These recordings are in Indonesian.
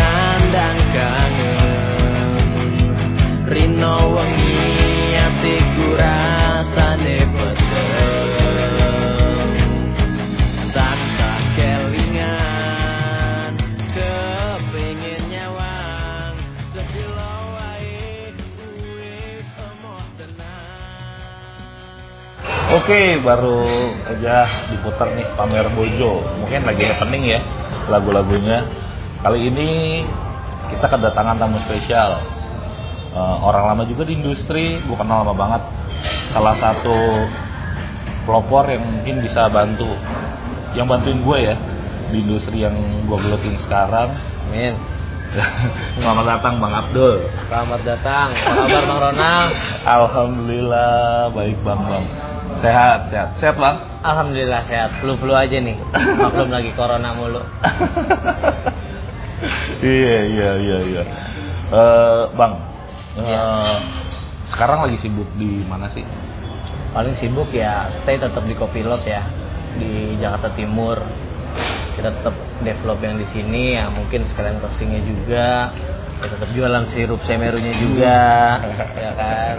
kadang kangen Rino wengi atiku rasane peteng Tansah kelingan kepingin nyawang sedelo wae wis emoh tenang Oke, baru aja diputar nih pamer bojo. Mungkin lagi happening ya lagu-lagunya. Kali ini kita kedatangan tamu spesial. Eh, orang lama juga di industri, gue kenal lama banget. Salah satu pelopor yang mungkin bisa bantu, yang bantuin gue ya di industri yang gue gelutin sekarang. Amin Selamat datang Bang Abdul. Selamat datang, apa kabar Bang Ronald? Alhamdulillah baik Bang Bang. Sehat, sehat. Sehat Bang. Alhamdulillah sehat, flu-flu aja nih Maklum lagi corona mulu iya iya iya iya Eh, bang eh, Iya. sekarang lagi sibuk di mana sih paling sibuk ya stay tetap di Kopilot ya di Jakarta Timur kita tetap develop yang di sini ya mungkin sekalian postingnya juga kita tetap jualan sirup semerunya juga ya kan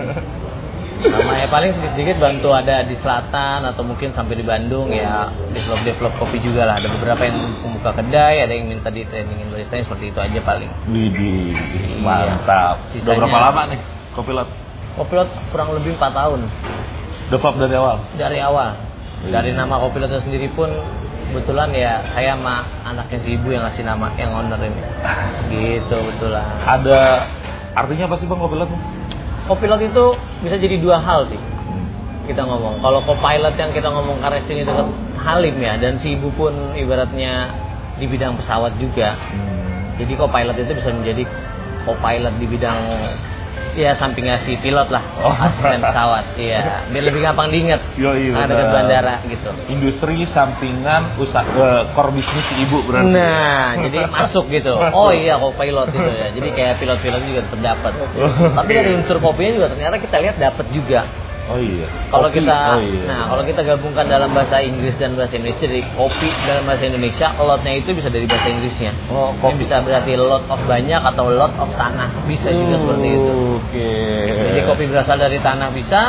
sama ya paling sedikit-sedikit bantu ada di selatan atau mungkin sampai di Bandung ya develop develop kopi juga lah ada beberapa yang membuka kedai ada yang minta di trainingin barista seperti itu aja paling Widih, Iya. mantap udah Sisanya- berapa lama nih kopilot Kopilot kurang lebih 4 tahun devap dari awal dari awal Iya. dari nama kopi Lotus sendiri pun kebetulan ya saya sama anaknya si ibu yang ngasih nama yang owner ini gitu betulan ada artinya apa sih bang kopilot kopilot itu bisa jadi dua hal sih kita ngomong kalau co-pilot yang kita ngomong karesin itu kan halim ya dan si ibu pun ibaratnya di bidang pesawat juga jadi co-pilot itu bisa menjadi co-pilot di bidang ya sampingnya si pilot lah Oh. asisten pesawat iya biar lebih gampang diinget Yoi, Nah, benar. dekat bandara gitu industri sampingan usaha eh, core bisnis si ibu berarti Nah, jadi masuk gitu. Oh iya, co-pilot gitu ya. Jadi kayak pilot-pilot juga tetap dapat. Tapi dari unsur kopinya juga ternyata kita lihat dapat juga. oh iya Kalau Kopi, kita, oh iya. nah kalau kita gabungkan dalam bahasa Inggris dan bahasa Indonesia, jadi kopi dalam bahasa Indonesia, lotnya itu bisa dari bahasa Inggrisnya. Oh, Ini kopi. bisa berarti lot of banyak atau lot of tanah bisa juga Hmm. seperti itu. Oke. Jadi kopi berasal dari tanah bisa,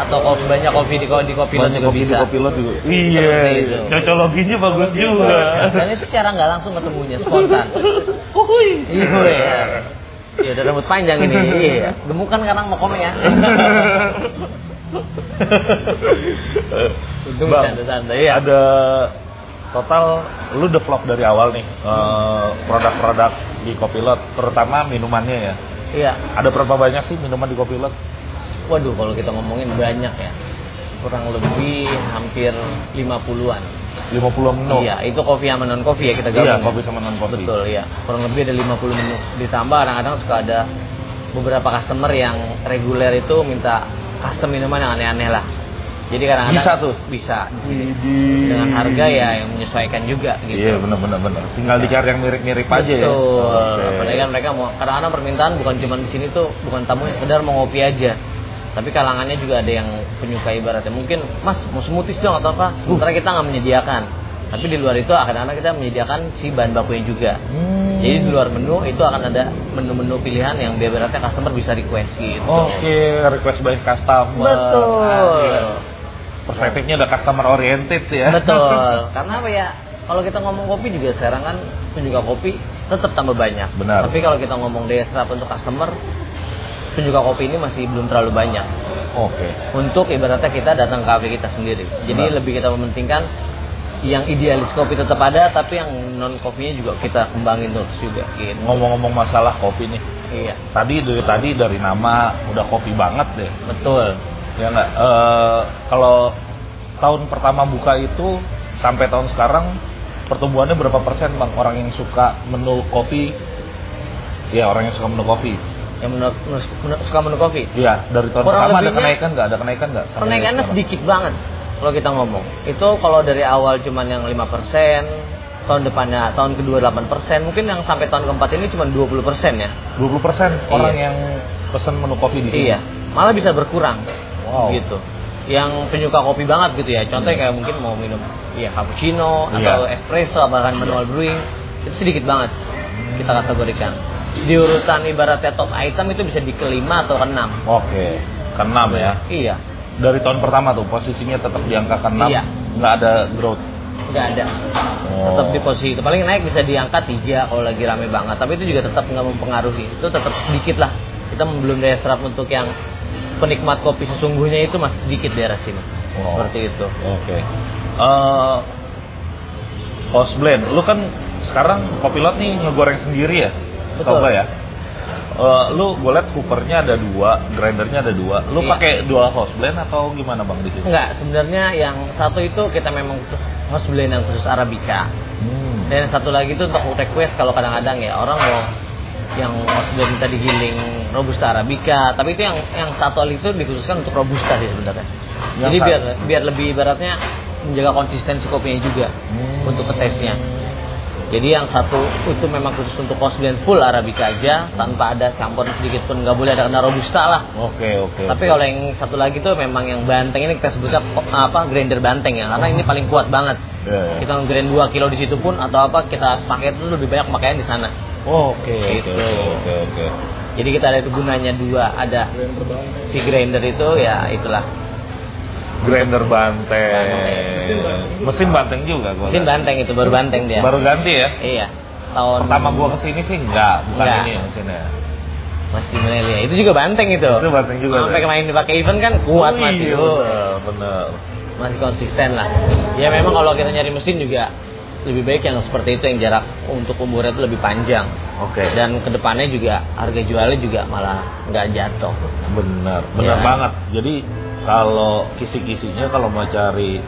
atau kopi banyak kopi di, ko- di kopi lot Banyak juga kopi bisa. di kopilot juga. Iya. Seperti itu. Cocologinya bagus juga. Dan itu secara nggak langsung ketemunya spontan. Iya. ya. Iya, udah rambut panjang ini. Iya. Gemukan kadang mau komen Iya. ya. Untung Bang, bercanda-canda, iya. ada total lu develop dari awal nih eh, produk-produk di Kopilot, terutama minumannya ya. Iya. Ada berapa banyak sih minuman di Kopilot? Waduh, kalau kita ngomongin banyak ya. Kurang lebih hampir 50-an. 50 menu. Iya, itu kopi sama non kopi ya kita gabung. Iya, ya? kopi sama non-kopi. Betul, iya. Kurang lebih ada 50 menu. Ditambah kadang-kadang suka ada beberapa customer yang reguler itu minta custom minuman yang aneh-aneh lah. Jadi kadang-kadang Bisa tuh? Hmm. Bisa. Widih. Dengan harga ya yang menyesuaikan juga gitu. Iya, benar benar benar. Tinggal dicari yang mirip-mirip aja ya. Betul. Oke. Apalagi kan mereka mau kadang-kadang permintaan bukan cuma di sini tuh bukan tamunya sekedar mau ngopi aja. Tapi kalangannya juga ada yang penyuka ibaratnya mungkin Mas mau smoothies dong atau apa? Uh. Sementara kita nggak menyediakan. Tapi di luar itu kadang-kadang kita menyediakan si bahan bakunya juga. Hmm. Jadi di luar menu itu akan ada menu-menu pilihan yang ibaratnya customer bisa request gitu. Oke, request by customer. Betul. Ah, iya. Perspektifnya udah customer oriented ya. Betul. Karena apa ya? Kalau kita ngomong kopi juga sekarang kan penjual kopi tetap tambah banyak. Benar. Tapi kalau kita ngomong daya serap untuk customer, penjual kopi ini masih belum terlalu banyak. Oke. Untuk ibaratnya kita datang ke kafe kita sendiri. Jadi Benar. lebih kita mementingkan yang idealis kopi tetap ada, tapi yang non kopinya juga kita kembangin terus juga. Gitu. Ngomong-ngomong masalah kopi nih. Iya, Tadi dari tadi dari nama udah kopi banget deh. betul. Ya nggak. Eh, kalau tahun pertama buka itu sampai tahun sekarang pertumbuhannya berapa persen bang orang yang suka menu kopi? Ya orang yang suka menu kopi. Yang menurut, menurut- menurut- suka menu kopi. Iya dari tahun Kurang pertama ada lebihnya- kenaikan nggak? Ada kenaikan nggak? sampai Kenaikannya sekarang? sedikit banget kalau kita ngomong. Itu kalau dari awal cuman yang 5%, tahun depannya tahun kedua 8%, mungkin yang sampai tahun keempat ini cuma 20% ya. 20% orang yang pesen menu kopi di sini. Iya. Malah bisa berkurang. Wow. Gitu. Yang penyuka kopi banget gitu ya. Contohnya kayak mungkin mau minum ya cappuccino Iya. atau espresso bahkan manual brewing itu sedikit banget kita kategorikan. di urutan ibaratnya top item itu bisa di kelima atau keenam. Oke, keenam ya. Iya, Dari tahun pertama tuh posisinya tetap di angka keenam, Iya. nggak ada growth. Oh. nggak ada. Tetap di posisi itu. Paling naik bisa di angka tiga kalau lagi rame banget. Tapi itu juga tetap nggak mempengaruhi. Itu tetap sedikit lah. Kita belum daya serap untuk yang penikmat kopi sesungguhnya itu masih sedikit daerah sini. Oh. Seperti itu. Oke. Eh, house blend, lu kan sekarang kopilot nih ngegoreng sendiri ya, Betul. Kalau nggak ya. Eh, lu gue liat coopernya ada dua, grindernya ada dua. Lu Iya. pakai dual house blend atau gimana bang di sini? Enggak, sebenarnya yang satu itu kita memang khusus harus beliin yang khusus Arabica. Hmm. Dan yang satu lagi itu untuk request kalau kadang-kadang ya orang mau yang sudah minta digiling robusta arabica, tapi itu yang yang satu hal itu dikhususkan untuk robusta sih sebenarnya. Yang Jadi satu. biar biar lebih ibaratnya menjaga konsistensi kopinya juga Hmm. untuk petesnya. Jadi yang satu itu memang khusus untuk kosbian full arabica aja tanpa ada campuran sedikit pun nggak boleh ada kena robusta lah. Oke oke. Tapi oke. kalau yang satu lagi tuh memang yang banteng ini kita sebutnya ko- apa grinder banteng ya karena ini paling kuat banget. Iya, iya. Kita ngegrand 2 kilo di situ pun atau apa kita pakai itu lebih banyak pakaian di sana. Oh, oke oke Gitu. oke oke. oke. Jadi kita ada itu gunanya dua, ada si grinder itu ya itulah Grinder banteng. Banteng. Mesin banteng juga gue. mesin banteng itu baru banteng dia. Baru ganti ya? Iya. Tahun Pertama gua kesini sih enggak, bukan Enggak. ini ya mesinnya. masih Menelia. Itu juga banteng itu. Itu banteng juga, Sampai ya? kemarin dipakai event kan kuat Oh, masih. iya, bener, bener. masih konsisten lah. Ya memang kalau kita nyari mesin juga lebih baik yang seperti itu yang jarak untuk umurnya itu lebih panjang Oke. dan kedepannya juga harga jualnya juga malah nggak jatuh. Benar, benar Ya. banget. Jadi kalau kisi-kisinya kalau mau cari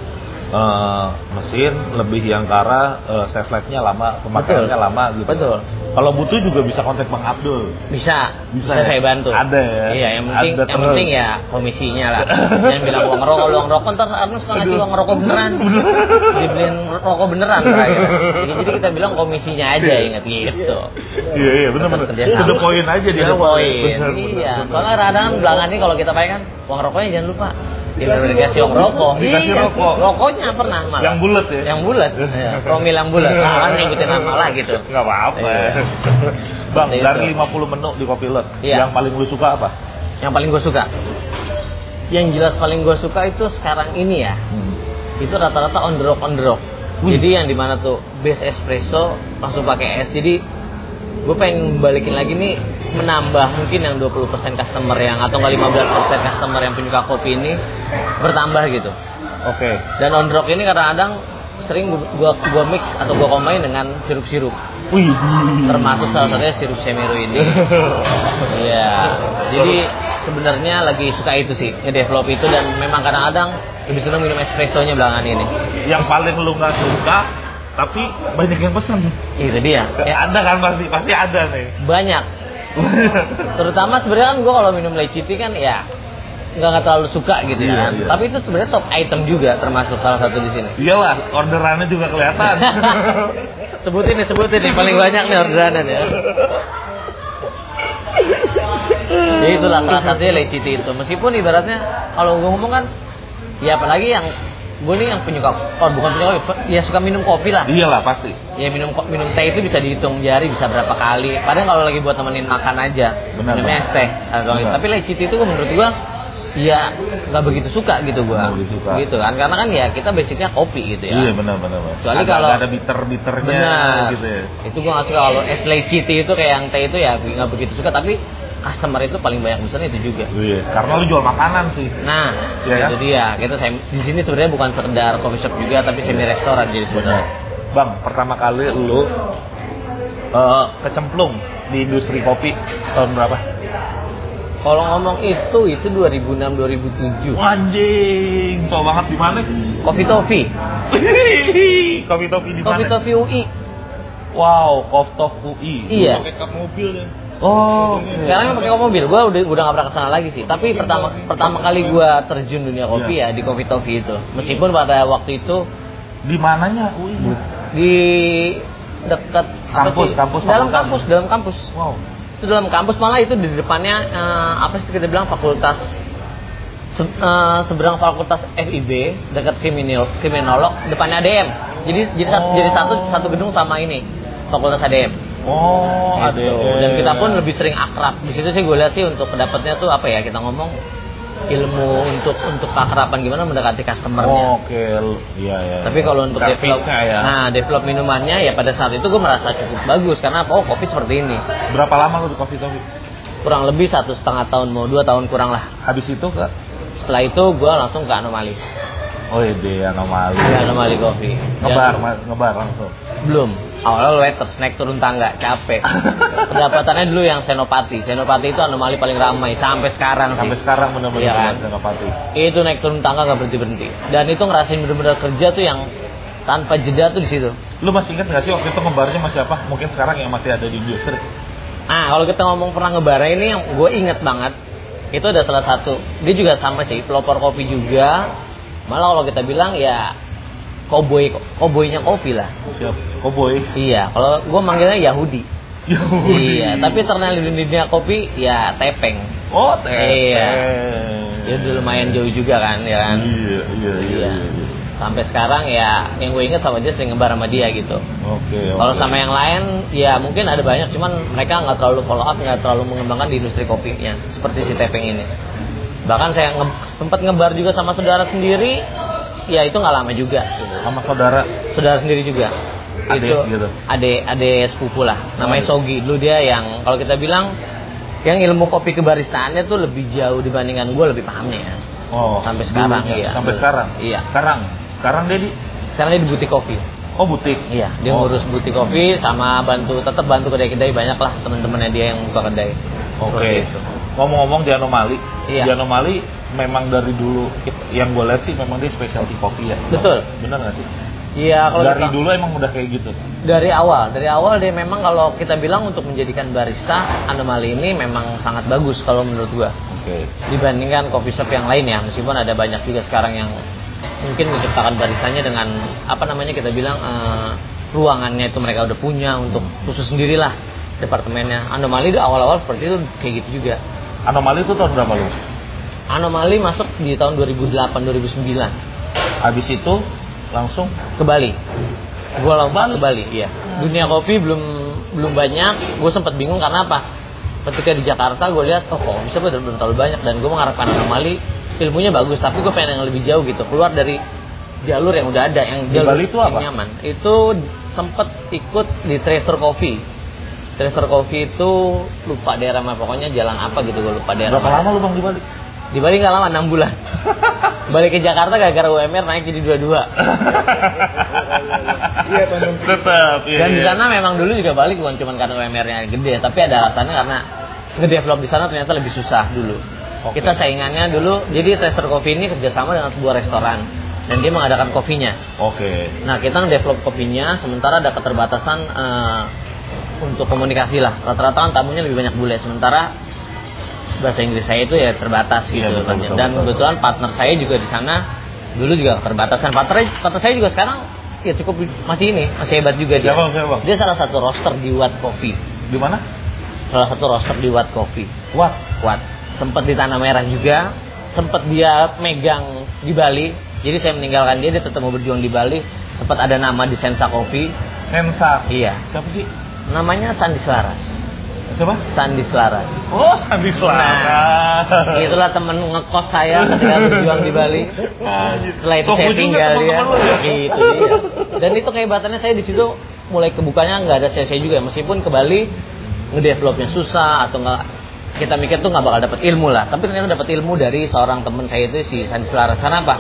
eh, mesin lebih yang ke arah eh, shelf life-nya lama, pemakaiannya Betul. lama gitu. Betul. Kalau butuh juga bisa kontak Bang Abdul. Bisa, Bisa bisa, ya? saya bantu. Ada ya? Iya, yang penting, Ada yang terus. penting ya komisinya lah. Jangan bilang uang rokok, uang rokok ntar kan Arno suka ngasih uang rokok beneran. Dibeliin rokok beneran terakhir. Jadi, jadi kita bilang komisinya aja ingat gitu. Iya, iya, benar benar. Tetap kerja To the sama. point aja di To the awal. point. Benar, benar, iya. benar. Soalnya kadang belakangan ini kalau kita pakai kan uang rokoknya jangan lupa. Kita Dikasih dikasih uang rokok. rokok. Dikasih Iya, rokok. Rokoknya pernah malah. Yang bulat ya? Yang bulat. Iya, promil yang bulat. Nah, kan ngikutin nama lah gitu. Enggak apa-apa. Iya. Bang, Seperti dari itu. 50 menu di Kopilot, Iya. yang paling lu suka apa? Yang paling gue suka. Yang jelas paling gue suka itu sekarang ini ya. Itu rata-rata on the rock on the rock. Wih. Jadi yang dimana tuh base espresso langsung pakai es. Jadi gue pengen balikin lagi nih menambah mungkin yang 20% customer yang atau nggak 15% customer yang penyuka kopi ini bertambah gitu. Oke. Dan on the rock ini kadang-kadang sering gua gua mix atau gua combine dengan sirup-sirup Wih. termasuk salah satunya sirup semero ini Iya. Jadi sebenarnya lagi suka itu sih, ngedevelop itu dan memang kadang-kadang lebih seneng minum espressonya belakangan ini. yang paling lu nggak suka tapi banyak yang pesen Itu dia. Ya, ada kan pasti pasti ada nih banyak. Terutama sebenarnya kan gue kalau minum leci tea kan ya nggak nggak terlalu suka gitu Iya, ya. iya. Tapi itu sebenarnya top item juga termasuk salah satu di sini. iyalah orderannya juga kelihatan sebutin nih, sebutin nih paling banyak nih orderanan ya. Jadi Ya itulah salah satunya leci tea itu. Meskipun ibaratnya kalau gue ngomong kan, ya apalagi yang gue nih yang penyuka, oh bukan penyuka, kopi, ya suka minum kopi lah. iyalah pasti Ya minum ko- minum teh itu bisa dihitung jari bisa berapa kali. Padahal kalau lagi buat temenin makan aja, Benar, minumnya es Bang. teh. Atau- gitu. Benar. Tapi leci tea itu gua menurut gua ya nggak begitu suka gitu gua. Nggak begitu suka. Gitu kan karena kan ya kita basicnya kopi gitu ya. iya benar benar benar. Kecuali Agak- kalau- agak ada bitter bitternya Benar. gitu ya Itu gue nggak suka kalau es leci tea itu kayak yang teh itu ya gue nggak begitu suka tapi customer itu paling banyak pesannya itu juga. iya karena lu jual makanan sih Nah, Iya kan? itu dia. Kita saya di sini sebenarnya bukan sekedar coffee shop juga tapi semi restoran jadi benar sebenarnya. bang pertama kali lu eh, kecemplung di industri kopi tahun berapa Kalau ngomong itu itu 2006 2007. anjing tau banget di mana Coffee Toffee, kopi topi di Coffee mana Toffee UI. wow koptop UI Iya. Oh, oke. Sekarang yang pakai kopi mobil, gue udah udah nggak pernah kesana lagi sih. Tapi pertama pertama kali gue terjun dunia kopi ya Iya. di Coffee Toffee itu. Meskipun pada waktu itu di mananya UI? di dekat Iya. Kampus, kampus, dalam fakultas. kampus dalam kampus Wow. itu dalam kampus malah itu di depannya eh, apa sih kita bilang fakultas se- eh, seberang fakultas FIB dekat kriminal kriminolog depannya ADM jadi jadi, satu, Oh. jadi satu satu gedung sama ini fakultas ADM Oh, ada Gitu. Dan kita pun lebih sering akrab. Di situ sih gue lihat sih untuk pendapatnya tuh apa ya kita ngomong ilmu untuk untuk akraban gimana mendekati customernya. Oh, Oke, l- iya iya. Tapi iya. kalau untuk develop, Servisnya ya. nah develop minumannya ya pada saat itu gue merasa cukup bagus karena apa? Oh kopi seperti ini. berapa lama lu di Coffee Coffee? Kurang lebih satu setengah tahun mau dua tahun kurang lah. Habis itu ke Setelah itu gue langsung ke anomali, Oh, ide anomali. ke anomali kopi. Dan- Ngebar, ma- ngebar langsung. Belum. Awalnya waiter, snack turun tangga, capek. Pendapatannya dulu yang senopati. Senopati itu anomali paling ramai sampai sekarang. Sampai sih. sekarang benar-benar Iya kan? buat Senopati. Itu naik turun tangga nggak berhenti berhenti. Dan itu ngerasain bener-bener kerja tuh yang tanpa jeda tuh di situ. Lu masih ingat nggak sih waktu itu ngebarnya masih apa? Mungkin sekarang yang masih ada di industri. Nah, kalau kita ngomong pernah ngebara ini yang gue inget banget itu ada salah satu. Dia juga sama sih, pelopor kopi juga. Malah kalau kita bilang ya koboi koboinya kopi lah. Siap. Oh, Koboi. Iya, kalau gue manggilnya Yahudi. Yahudi. Iya, tapi terkenal di dunia kopi ya tepeng. Oh, teh. Iya. Ya udah lumayan jauh juga kan, ya kan. Iya, iya, iya. Iya. iya, iya. Sampai sekarang ya yang gue inget sama dia sering ngebar sama dia gitu. Oke. Kalau oke. sama yang lain ya mungkin ada banyak, cuman mereka nggak terlalu follow up, nggak terlalu mengembangkan di industri kopinya seperti si Tepeng ini. Bahkan saya nge- sempat ngebar juga sama saudara sendiri, ya itu nggak lama juga. gitu. sama saudara Saudara sendiri juga. Adik itu gitu. Ade ade sepupu lah. Namanya Aduh. Sogi. Dulu dia yang kalau kita bilang yang ilmu kopi kebaristaannya tuh lebih jauh dibandingkan gue lebih pahamnya. ya. Oh, Sampai sekarang, dulunya. iya. Sampai sekarang. Iya. Sekarang. Sekarang dia di Sekarang dia di butik kopi. Oh, butik. Iya, dia Oh. ngurus butik kopi sama bantu tetap bantu kedai-kedai banyak lah teman-temannya dia yang buka kedai. Oke. Seperti itu. Ngomong-ngomong di anomali, Iya. di anomali memang dari dulu kita- yang gue lihat sih memang dia specialty kopi ya. Betul. Benar nggak sih? Iya, kalau dari kita- dulu emang udah kayak gitu. dari awal, dari awal dia memang kalau kita bilang untuk menjadikan barista anomali ini memang sangat bagus kalau menurut gua Oke. dibandingkan coffee shop yang lain ya meskipun ada banyak juga sekarang yang mungkin menciptakan baristanya dengan apa namanya kita bilang eh, ruangannya itu mereka udah punya untuk khusus sendirilah departemennya anomali itu awal-awal seperti itu kayak gitu juga Anomali itu tahun berapa lu? anomali masuk di tahun 2008 2009 Habis itu langsung ke Bali gue lomba ke Bali iya Hmm. dunia kopi belum belum banyak gue sempat bingung karena apa ketika di Jakarta gue lihat oh kok bisa bener belum terlalu banyak dan gue mengharapkan anomali ilmunya bagus tapi gue pengen yang lebih jauh gitu keluar dari jalur yang udah ada yang Di jalur Bali itu yang apa? nyaman itu sempet ikut di Tracer Coffee Tracer Coffee itu lupa daerah mana pokoknya jalan apa gitu gue lupa daerah berapa mana. lama lu Bang di Bali? Di Bali nggak lama 6 bulan. Balik ke Jakarta gara-gara UMR naik jadi 22. Iya, Tetap. iya, Dan di iya. sana memang dulu juga balik bukan cuma karena UMR-nya gede, tapi ada alasannya karena ngedevelop di sana ternyata lebih susah dulu. Oke. Kita saingannya dulu, jadi Tester Coffee ini kerjasama dengan sebuah restoran dan dia mengadakan kopinya. Oke. Nah kita ngedevelop kopinya, sementara ada keterbatasan eh, untuk komunikasi lah. Rata-rata kan tamunya lebih banyak bule, sementara bahasa Inggris saya itu ya terbatas gitu. Iya, betul, kan. betul, Dan betul. kebetulan partner saya juga di sana dulu juga keterbatasan. Partner, partner saya juga sekarang ya cukup masih ini, masih hebat juga dia. Siapa, siapa? Dia salah satu roster di Watt Coffee, Di mana? salah satu roster di Watt Coffee. What? Kuat. Sempat di Tanah Merah juga, sempat dia megang di Bali. Jadi saya meninggalkan dia, dia tetap mau berjuang di Bali. Sempat ada nama di Sensa Coffee. Sensa. Iya. Siapa sih? Namanya Sandi Selaras. Siapa? Sandi Selaras. Oh, Sandi Selaras. Nah, itulah temen ngekos saya ketika berjuang di Bali. Nah, Ah, gitu. Setelah itu saya tinggal dia. ya? Gitu, iya. Dan itu kehebatannya saya di situ mulai kebukanya nggak ada CC juga ya. meskipun ke Bali ngedevelopnya susah atau nggak kita mikir tuh nggak bakal dapat ilmu lah tapi ternyata dapat ilmu dari seorang teman saya itu si Sandi Selaras karena apa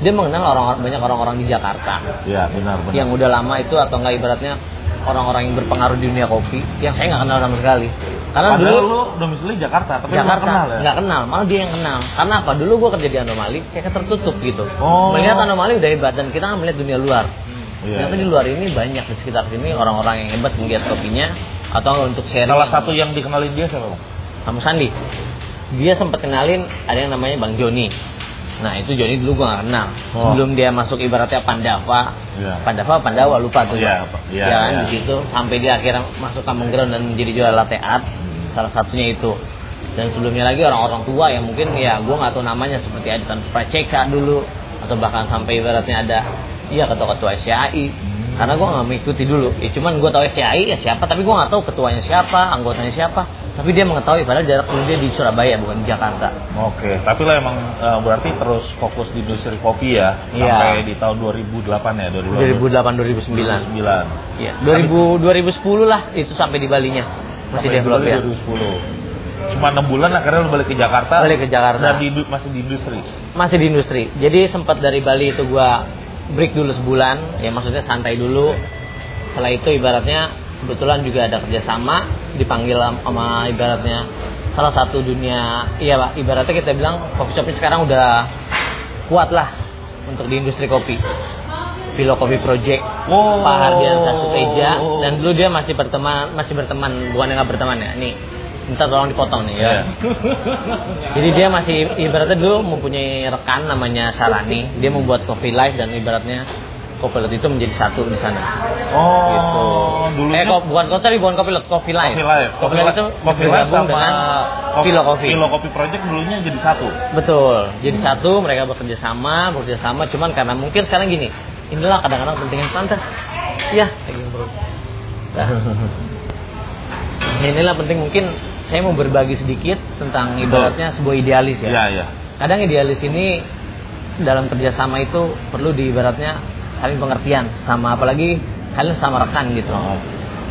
dia mengenal orang banyak orang-orang di Jakarta Iya, benar benar. yang udah lama itu atau nggak ibaratnya orang-orang yang berpengaruh di dunia kopi yang saya nggak kenal sama sekali karena Padahal dulu lu domisili Jakarta, tapi lu Jakarta nggak kenal ya? nggak kenal, malah dia yang kenal. Karena apa? Dulu gue kerja di anomali, kayak tertutup gitu. Oh. Melihat anomali udah hebat dan kita melihat dunia luar. Iya. Ternyata di luar ini banyak di sekitar sini orang-orang yang hebat menggiat kopinya atau untuk sharing. Salah satu ya. yang dikenalin dia siapa bang? sama Sandi. Dia sempat kenalin ada yang namanya Bang Joni. Nah itu Joni dulu gue gak kenal. Oh. Sebelum dia masuk ibaratnya Pandava, Iya. Pandava Pandawa lupa tuh. Iya, Pak. Iya, Ya kan, iya. di situ sampai dia akhirnya masuk Common Ground dan menjadi jual latte art. Hmm. Salah satunya itu. Dan sebelumnya lagi orang-orang tua yang mungkin ya gue nggak tahu namanya seperti Aditan Praceka dulu atau bahkan sampai ibaratnya ada iya ketua-ketua SCI Hmm. karena gue nggak mengikuti dulu ya cuman gue tahu FCI ya siapa tapi gue nggak tahu ketuanya siapa anggotanya siapa tapi dia mengetahui padahal jarak umur dia di Surabaya bukan di Jakarta Oke, tapi lo emang eh, berarti terus fokus di industri kopi ya Iya. sampai di tahun 2008 ya 2008 2009 2009. ya 2000 2010 lah itu sampai di Balinya masih Sampai develop Juli ya 2010. Cuma 6 bulan akhirnya lu balik ke Jakarta. Balik ke Jakarta. Dan di, masih di industri. masih di industri jadi sempat dari Bali itu gua break dulu sebulan ya maksudnya santai dulu setelah itu ibaratnya kebetulan juga ada kerjasama dipanggil sama ibaratnya salah satu dunia iya pak ibaratnya kita bilang coffee shopnya sekarang udah kuat lah untuk di industri kopi Pilo Kopi Project Wow. Pak Hardian Sasuteja dan dulu dia masih berteman masih berteman bukan yang nggak berteman ya nih minta tolong dipotong nih ya Iya. jadi dia masih ibaratnya dulu mempunyai rekan namanya Sarani. Dia membuat Coffee Life dan ibaratnya Copilot itu menjadi satu di sana. Oh, Gitu. dulunya Eh, ko- bukan Coffee, bukan Copilot, Coffee Life. Coffee Life. Coffee Life itu Coffee Life bergabung sama dengan Kopi- Pilo Coffee. Pilo Kopi Project dulunya jadi satu. Betul. Jadi satu mereka bekerja sama, bekerja sama. Cuman karena mungkin sekarang gini, inilah kadang-kadang pentingnya santai. Ya, lagi ngobrol. Nah, inilah penting mungkin saya mau berbagi sedikit tentang Betul. ibaratnya sebuah idealis ya. Iya, iya. kadang idealis ini dalam kerjasama itu perlu diibaratnya saling pengertian sama apalagi kalian sama rekan gitu Oh.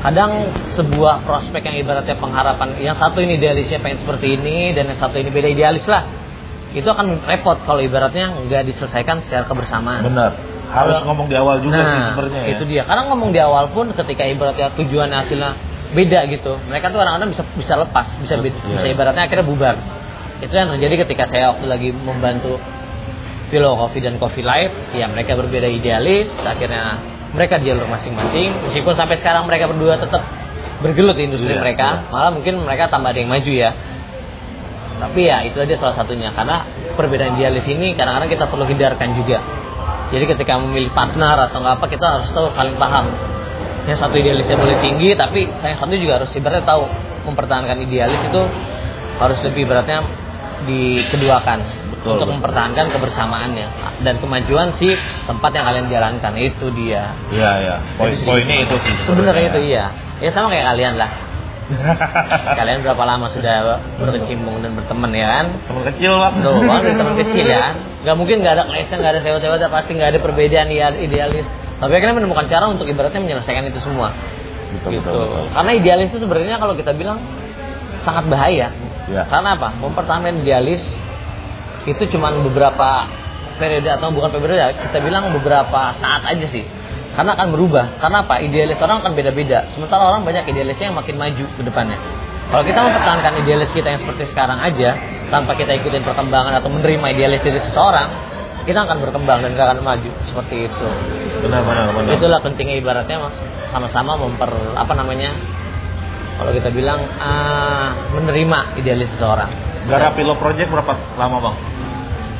kadang sebuah prospek yang ibaratnya pengharapan yang satu ini idealisnya pengen seperti ini dan yang satu ini beda idealis lah itu akan repot kalau ibaratnya nggak diselesaikan secara kebersamaan Benar. Harus Kalau- ngomong di awal juga sih nah sebenarnya ya. itu dia karena ngomong di awal pun ketika ibaratnya tujuan hasilnya beda gitu mereka tuh kadang-kadang bisa bisa lepas bisa be- Iya. bisa ibaratnya akhirnya bubar itu yang terjadi ketika saya waktu lagi membantu Philo Coffee dan Coffee Life ya mereka berbeda idealis akhirnya mereka di jalur masing-masing meskipun sampai sekarang mereka berdua tetap bergelut di industri Iya, mereka iya. malah mungkin mereka tambah ada yang maju ya tapi ya itu aja salah satunya karena perbedaan idealis ini kadang-kadang kita perlu hindarkan juga jadi ketika memilih partner atau nggak apa kita harus tahu saling paham yang satu idealisnya boleh tinggi tapi yang satu juga harus ibaratnya tahu mempertahankan idealis itu harus lebih beratnya dikeduakan Betul. untuk mempertahankan kebersamaannya dan kemajuan si tempat yang kalian jalankan itu dia Iya, iya. Poin-poinnya itu sih. sebenarnya itu iya ya sama kayak kalian lah kalian berapa lama sudah berkecimpung dan berteman ya kan Teman kecil, Bang. Tuh, kan dari teman kecil ya. Gak mungkin gak ada clash gak ada sewa-sewa, pasti gak ada perbedaan ya idealis. Tapi akhirnya menemukan cara untuk ibaratnya menyelesaikan itu semua. Betul, gitu. betul, betul. Karena idealis itu sebenarnya kalau kita bilang sangat bahaya. Iya. Karena apa? Mempertahankan idealis itu cuman beberapa periode atau bukan periode ya, kita bilang beberapa saat aja sih. Karena akan berubah. Karena apa? Idealis orang akan beda-beda. Sementara orang banyak idealisnya yang makin maju ke depannya. Kalau kita mempertahankan idealis kita yang seperti sekarang aja, tanpa kita ikutin perkembangan atau menerima idealis dari seseorang, kita akan berkembang dan gak akan maju seperti itu. Benar, benar, benar. Itulah pentingnya ibaratnya mas sama-sama memper apa namanya kalau kita bilang ah, menerima idealis seseorang. Gara Pilo Project berapa lama, Bang?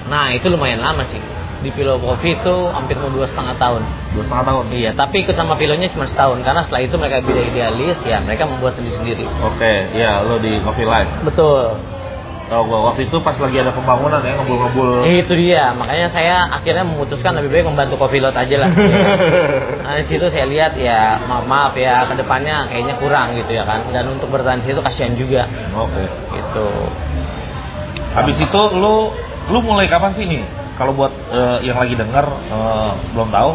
Nah itu lumayan lama sih di Pilo Coffee itu hampir mau dua setengah tahun. Dua setengah tahun. Iya tapi ikut sama Pilonya cuma setahun karena setelah itu mereka beda idealis ya mereka membuat sendiri sendiri. Oke, iya lo di Coffee Life. Betul. Tahu gua waktu itu pas lagi ada pembangunan ya ngebul-ngebul. Nah, Itu dia makanya saya akhirnya memutuskan lebih baik membantu Coffee Lot aja lah. Nah, di situ saya lihat ya maaf maaf ya kedepannya kayaknya kurang gitu ya kan dan untuk bertahan di situ kasihan juga Oke. gitu Habis itu lu lu mulai kapan sih nih? Kalau buat eh, yang lagi denger eh, belum tahu,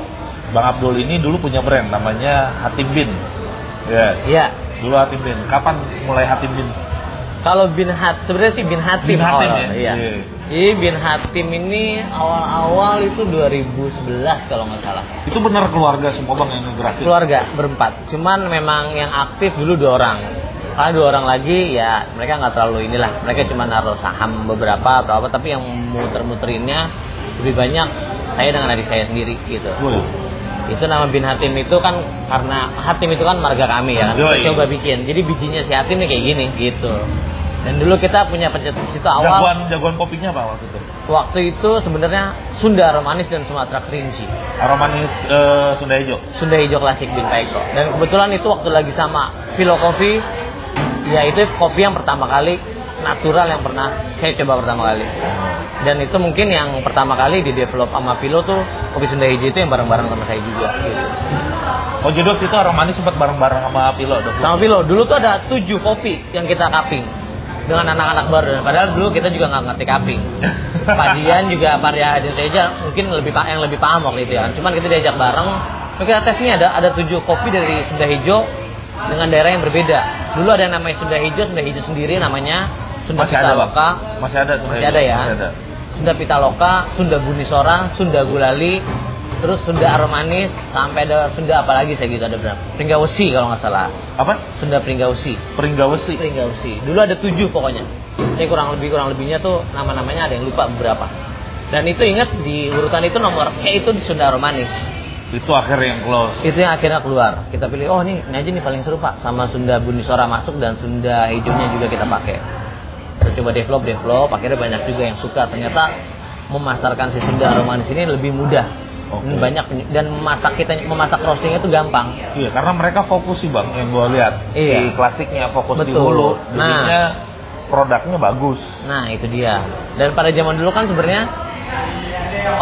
Bang Abdul ini dulu punya brand namanya Hatim Bin. Ya, Iya. dulu Hatim Bin. Kapan mulai Hatim Bin? Kalau bin hat sebenarnya sih bin hatim. Bin Hatim awal, ya? Iya. Iya. Jadi bin hatim ini awal-awal itu 2011 kalau nggak salah. Itu benar keluarga semua Bang yang ngegerakin. Keluarga berempat. Cuman memang yang aktif dulu dua orang. Karena dua orang lagi ya mereka nggak terlalu inilah. Mereka cuma naruh saham beberapa atau apa. Tapi yang muter-muterinnya lebih banyak saya dengan adik saya sendiri gitu. Woi, itu nama bin Hatim itu kan karena Hatim itu kan marga kami ya kan Yoi. coba bikin jadi bijinya si Hatim nih kayak gini gitu dan dulu kita punya pencetus itu awal Jagoan jagoan kopinya apa waktu itu? waktu itu sebenarnya Sunda Romanis dan Sumatera Kerinci Aromanis eh, Sunda Hijau. Sunda Hijau Klasik bin Paiko dan kebetulan itu waktu lagi sama Philo Coffee ya itu kopi yang pertama kali natural yang pernah saya coba pertama kali dan itu mungkin yang pertama kali di develop sama Philo tuh kopi Sunda Hijau itu yang bareng-bareng sama saya juga gitu Oh jadi waktu itu orang manis sempat bareng-bareng sama Pilo dong. Sama Pilo, dulu tuh ada tujuh kopi yang kita cupping dengan anak-anak baru. Padahal dulu kita juga nggak ngerti cupping. Padian juga Maria Hadin Teja mungkin lebih pa- yang lebih paham waktu itu ya. Cuman kita diajak bareng. Terus Kita tes nih ada ada tujuh kopi dari Sunda Hijau dengan daerah yang berbeda. Dulu ada yang namanya Sunda Hijau, Sunda Hijau sendiri namanya Sunda Masih ada Bang? Pitaloka. Masih ada Masih ada ya. Masih ada. Sunda Pitaloka, Sunda Gunisora, Sunda Gulali, terus Sunda Aromanis, sampai ada Sunda apa lagi saya gitu ada berapa? Pringgawesi kalau nggak salah. Apa? Sunda Pringgawesi. Peringgawesi. Pringgawesi. Dulu ada tujuh pokoknya. Saya kurang lebih kurang lebihnya tuh nama-namanya ada yang lupa beberapa. Dan itu ingat di urutan itu nomor E itu di Sunda Romanis. Itu akhir yang close. Itu yang akhirnya keluar. Kita pilih, oh nih, ini aja nih paling seru pak. Sama Sunda Bunisora masuk dan Sunda Hijaunya juga kita pakai. Kita coba develop, develop. Akhirnya banyak juga yang suka. Ternyata memasarkan si Sunda Romanis ini lebih mudah. Oke. Dan Banyak penyu- dan memasak kita memasak roastingnya itu gampang. Iya, karena mereka fokus sih bang, yang gue lihat Iya. di klasiknya fokus di Betul. hulu, Nah. jadinya produknya bagus. Nah itu dia. Dan pada zaman dulu kan sebenarnya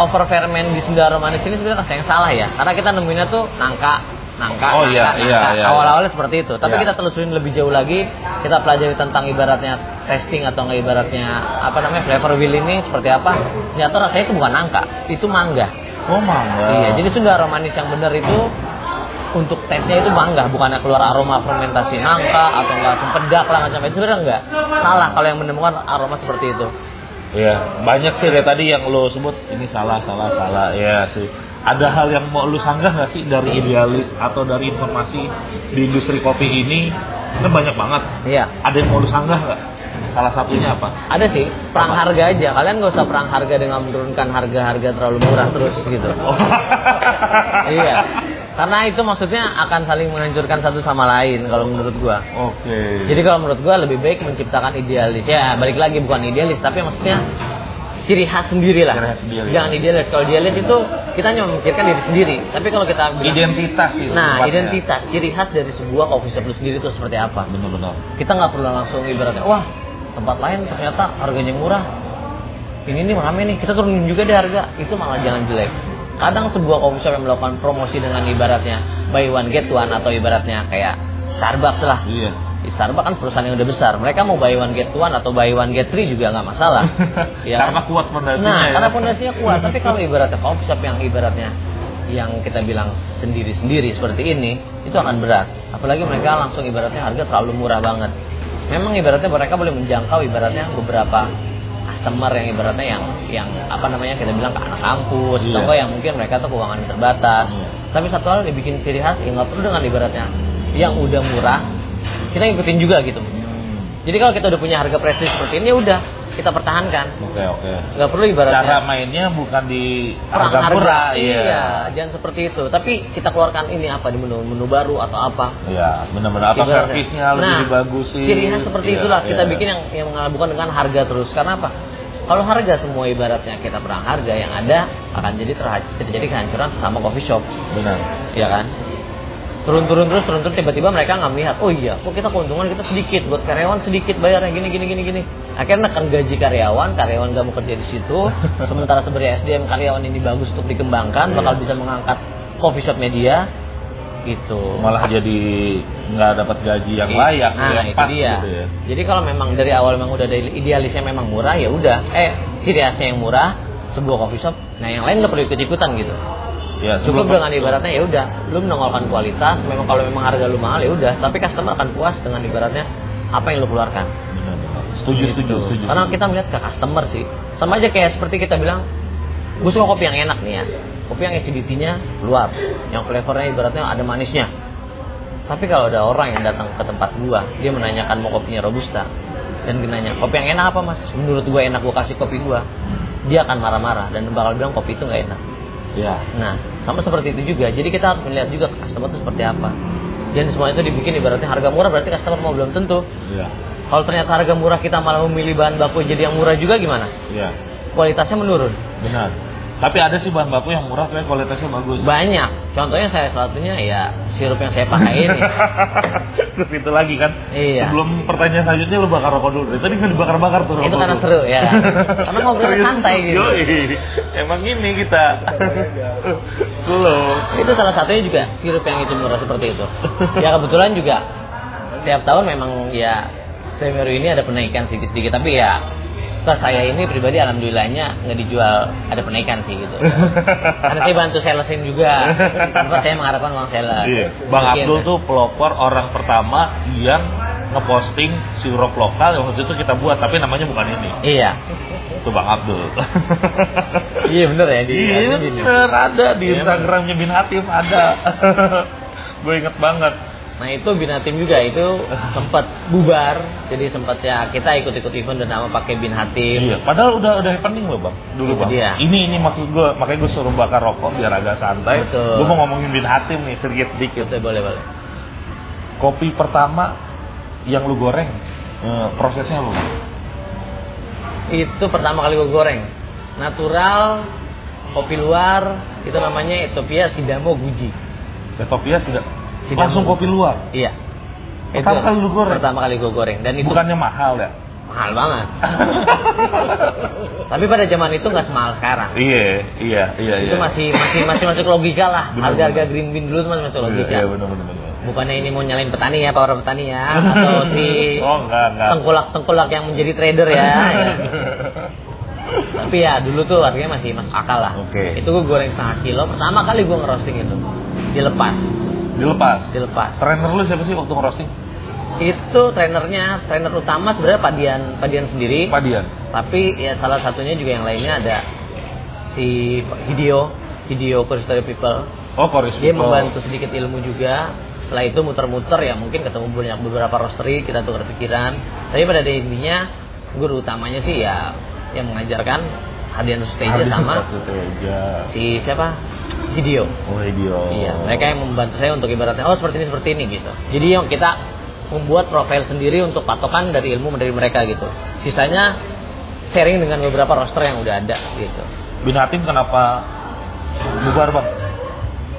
over ferment di Sunda Romanis ini sebenarnya rasa yang salah ya. Karena kita nemuinnya tuh nangka, nangka, Oh, nangka, iya, nangka. iya, iya, Awal-awalnya seperti itu. Tapi Iya. kita telusurin lebih jauh lagi, kita pelajari tentang ibaratnya testing atau nggak ibaratnya apa namanya flavor wheel ini seperti apa. Ternyata rasanya itu bukan nangka, itu mangga. Oh mangga. Iya, jadi Sunda Romanis yang benar itu untuk tesnya itu mangga, bukannya keluar aroma fermentasi nangka atau enggak sempedak lah macam itu sebenarnya enggak. Salah kalau yang menemukan aroma seperti itu. Iya, banyak sih dari tadi yang lo sebut ini salah, salah, salah. Ya sih. Ada hal yang mau lu sanggah nggak sih dari Iya. idealis atau dari informasi di industri kopi ini? Ini banyak banget. Iya. Ada yang mau lu sanggah nggak? Salah satunya apa? Ada sih, perang harga aja. Kalian gak usah perang harga dengan menurunkan harga-harga terlalu murah terus gitu. iya. Karena itu maksudnya akan saling menghancurkan satu sama lain kalau menurut gua. Oke. Jadi kalau menurut gua lebih baik menciptakan idealis. Ya, balik lagi bukan idealis, tapi maksudnya ciri khas sendiri lah. Ciri khas sendiri. ya. Jangan idealis. Kalau idealis itu kita hanya memikirkan diri sendiri. Tapi kalau kita bilang- identitas itu. Nah, tepatnya. identitas, ciri khas dari sebuah coffee shop itu sendiri itu seperti apa? Benar-benar. kita nggak perlu langsung ibaratnya wah tempat lain ternyata harganya murah ini nih rame nih kita turunin juga deh harga itu malah jangan jelek kadang sebuah coffee shop yang melakukan promosi dengan ibaratnya buy one get one atau ibaratnya kayak Starbucks lah Iya. Starbucks kan perusahaan yang udah besar mereka mau buy one get one atau buy one get three juga nggak masalah Ya kan? Karena kuat fondasinya. Nah, ya. karena fondasinya kuat. Tapi kalau ibaratnya coffee shop yang ibaratnya yang kita bilang sendiri-sendiri seperti ini, itu akan berat. Apalagi mereka langsung ibaratnya harga terlalu murah banget. Memang ibaratnya mereka boleh menjangkau ibaratnya beberapa customer yang ibaratnya yang yang apa namanya kita bilang ke anak kampus Iya. atau enggak yang mungkin mereka tuh keuangan terbatas. Iya. Tapi satu hal yang dibikin ciri khas ya nggak perlu dengan ibaratnya yang udah murah kita ngikutin juga gitu. Hmm. Jadi kalau kita udah punya harga prestis seperti ini ya udah kita pertahankan. Oke, oke. Nggak perlu ibaratnya Cara mainnya bukan di ya. perang harga harga, murah, iya. jangan seperti itu tapi kita keluarkan ini apa di menu menu baru atau apa Iya, benar-benar atau Ibaratnya. servisnya lebih Nah, dibagusin. ciri khas seperti Iya, itulah kita iya. bikin yang yang bukan dengan harga terus karena apa kalau harga semua ibaratnya kita perang harga yang ada akan jadi terha- terjadi kehancuran sama coffee shop benar. ya kan turun-turun terus turun-turun tiba-tiba mereka nggak melihat oh iya kok kita keuntungan kita sedikit buat karyawan sedikit bayarnya gini gini gini gini akhirnya kan gaji karyawan karyawan gak mau kerja di situ sementara sebenarnya SDM karyawan ini bagus untuk dikembangkan Iya. bakal bisa mengangkat coffee shop media gitu Malah jadi nggak dapat gaji yang layak, nah, yang itu pas dia. gitu ya. Jadi kalau memang dari awal memang udah ada idealisnya memang murah ya udah. Eh, ciri khasnya yang murah, sebuah coffee shop. Nah, yang lain nggak perlu ikut ikutan gitu. Ya, Cukup dengan ibaratnya ya udah, lu menongolkan kualitas, memang kalau memang harga lu mahal ya udah, tapi customer akan puas dengan ibaratnya apa yang lu keluarkan. Benar-benar. Setuju, setuju, Gitu. setuju. Karena kita melihat ke customer sih. Sama aja kayak seperti kita bilang, gue suka kopi yang enak nih ya. Kopi yang acidity-nya luar, yang flavornya ibaratnya ada manisnya. Tapi kalau ada orang yang datang ke tempat gua, dia menanyakan mau kopinya robusta dan dia nanya, kopi yang enak apa mas? Menurut gua enak gua kasih kopi gua. Dia akan marah-marah dan bakal bilang kopi itu nggak enak. ya. Nah, sama seperti itu juga. Jadi kita harus melihat juga customer itu seperti apa. Dan semua itu dibikin ibaratnya harga murah berarti customer mau belum tentu. Ya. Kalau ternyata harga murah kita malah memilih bahan baku jadi yang murah juga gimana? Ya. Kualitasnya menurun. Benar. Tapi ada sih bahan baku yang murah, kayak kualitasnya bagus. Banyak. Contohnya saya salah satunya ya sirup yang saya pakai ini. Terus itu lagi kan. Iya. Sebelum pertanyaan selanjutnya lu bakar rokok dulu. Tadi kan dibakar-bakar tuh rokok. Itu karena lu. seru ya. Karena ngobrolnya Serius. santai gitu. Yoi. Emang gini kita. Slow. Itu salah satunya juga sirup yang itu murah seperti itu. Ya kebetulan juga tiap tahun memang ya Semeru ini ada penaikan sedikit-sedikit tapi ya ke saya ini pribadi alhamdulillahnya nggak dijual ada penaikan sih gitu. Karena saya bantu salesin juga. Tanpa saya mengharapkan uang sales. Iya. Bang Mungkin. Abdul tuh pelopor orang pertama yang ngeposting sirup lokal yang waktu itu kita buat tapi namanya bukan ini. Iya. Itu Bang Abdul. Iya bener ya di Iya bener ada di Iya, Instagramnya Bin Hatim ada. Gue inget banget. Nah itu Bina Tim juga itu sempat bubar, jadi sempat ya kita ikut-ikut event dan nama pakai Bin Hatim. Iya, padahal udah udah happening loh bang, dulu Itu bang. dia. Ini ini maksud gue, makanya gue suruh bakar rokok biar agak santai. Betul. Gue mau ngomongin Bin Hatim nih sedikit sedikit. Gitu, boleh boleh. Kopi pertama yang lu goreng, eh, prosesnya lu. Itu pertama kali gue goreng, natural, kopi luar, itu namanya Ethiopia Sidamo Guji. Ethiopia tidak Sidamo. Ya, langsung kopi luar, Iya. Pertama kali lu goreng? Pertama kali gue goreng dan itu bukannya mahal ya? mahal banget. Tapi pada zaman itu nggak semahal sekarang. Iya iya iya. Itu iya. masih masih masih masuk logika lah. Benar, Harga-harga benar. green bean dulu itu ya? masih masuk Iya, logika. Iya benar benar benar. Bukannya ini mau nyalain petani ya, para petani ya, atau si Oh enggak enggak. tengkulak-tengkulak yang menjadi trader ya. ya. Tapi ya dulu tuh harganya masih masuk akal lah. Oke. Itu gue goreng setengah kilo. Pertama kali gue ngerosting itu, dilepas, Dilepas. dilepas. Trainer lu siapa sih waktu ngerosting? Itu trainernya, trainer utama sebenarnya Padian, Padian sendiri. Padian. Tapi ya salah satunya juga yang lainnya ada si Hideo, Hideo Kuristori People. Oh Koris. Dia People. membantu sedikit ilmu juga. Setelah itu muter-muter ya mungkin ketemu banyak beberapa roastery, kita tukar pikiran. Tapi pada intinya guru utamanya sih ya yang mengajarkan Hadian Suteja Hardian sama Suteja. si siapa? Video. Oh Edio. Iya, mereka yang membantu saya untuk ibaratnya oh seperti ini seperti ini gitu. Jadi yang kita membuat profil sendiri untuk patokan dari ilmu dari mereka gitu. Sisanya sharing dengan beberapa roster yang udah ada gitu. Bin Hatim kenapa bubar bang?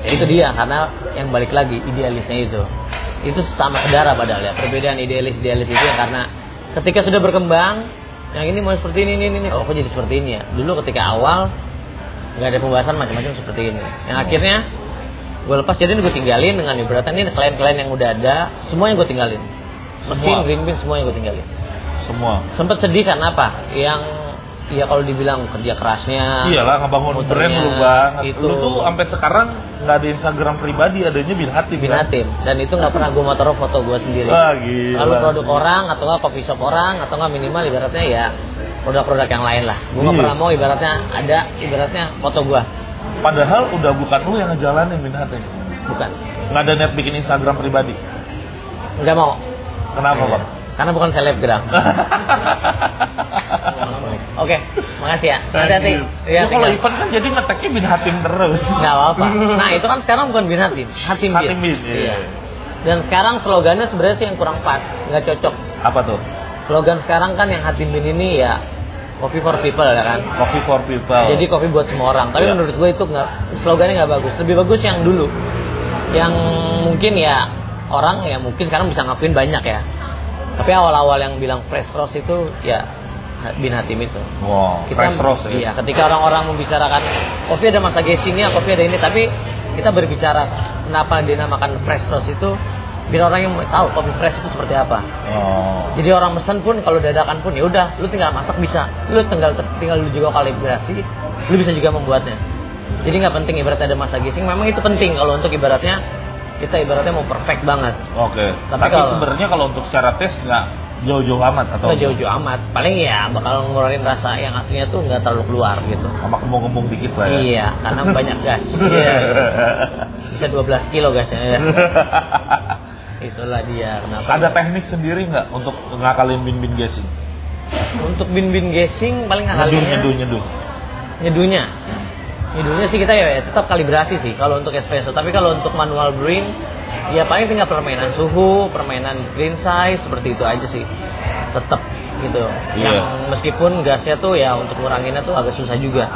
Ya, itu dia karena yang balik lagi idealisnya itu itu sama saudara padahal ya perbedaan idealis idealis itu ya karena ketika sudah berkembang yang ini mau seperti ini ini ini, ini oh kok jadi seperti ini ya dulu ketika awal nggak ada pembahasan macam-macam seperti ini yang akhirnya gue lepas jadi gue tinggalin dengan ibaratnya ini klien-klien yang udah ada semua yang gue tinggalin mesin Semua. green bean semua yang gue tinggalin Semua. sempet sedih karena apa yang ya kalau dibilang kerja kerasnya Iyalah ngebangun muternya, brand lu bang. Nah, itu Lu tuh sampai sekarang nggak ada Instagram pribadi, adanya Bin Hatim. kan? Binatim dan itu nggak pernah gue motor foto gue sendiri Wah, gila. selalu produk orang atau nggak coffee shop orang atau nggak minimal ibaratnya ya produk-produk yang lain lah gue nggak Iya. pernah mau ibaratnya ada ibaratnya foto gue Padahal udah bukan lu yang ngejalanin Bin Hatim. bukan Nggak ada niat bikin Instagram pribadi. nggak mau Iya. Kenapa bang? karena bukan selebgram oke makasih ya hati-hati Iya, Ya, kalau tinggal. event kan jadi ngeteknya Bin Hatim terus. nggak apa-apa nah itu kan sekarang bukan binatim hatim bin Hatim Bin, iya. dan sekarang slogannya sebenarnya sih yang kurang pas nggak cocok Apa tuh? slogan sekarang kan yang hatim bin ini ya coffee for people ya kan Coffee for people. Jadi kopi buat semua orang. Tapi Iya. menurut gue itu nggak slogannya nggak bagus. Lebih bagus yang dulu, yang mungkin ya orang ya mungkin sekarang bisa ngakuin banyak ya. Tapi awal-awal yang bilang fresh roast itu ya bin hatim itu. Wow, fresh roast ya. Iya, ketika orang-orang membicarakan kopi ada masa Iya. gasingnya, kopi ada ini, tapi kita berbicara kenapa dinamakan fresh roast itu biar orang yang mau tahu kopi fresh itu seperti apa. Oh. Jadi orang pesan pun kalau dadakan pun ya udah, lu tinggal masak bisa, lu tinggal tinggal lu juga kalibrasi, lu bisa juga membuatnya. Jadi nggak penting ibaratnya ada masa gising, memang itu penting kalau untuk ibaratnya kita ibaratnya mau perfect banget, Oke. Tapi Tapi, kalau- sebenarnya kalau untuk secara tes nggak jauh-jauh amat atau nggak jauh-jauh amat. Paling ya bakal ngurangin rasa yang aslinya tuh nggak terlalu keluar gitu. sama kembung-kembung dikit lah ya. Iya, karena banyak gas. Iya. Bisa 12 kilo gasnya ya. Itulah dia kenapa. Ada teknik sendiri nggak untuk ngakalin bin-bin gasing? Untuk bin-bin gasing paling Nyeduh, ngakalinnya nyeduh, nyeduh. nyeduhnya nyeduhnya sih kita ya tetap kalibrasi sih kalau untuk espresso tapi kalau untuk manual brewing ya paling tinggal permainan suhu permainan green size seperti itu aja sih tetap gitu Iya. yang meskipun gasnya tuh ya untuk nguranginnya tuh agak susah juga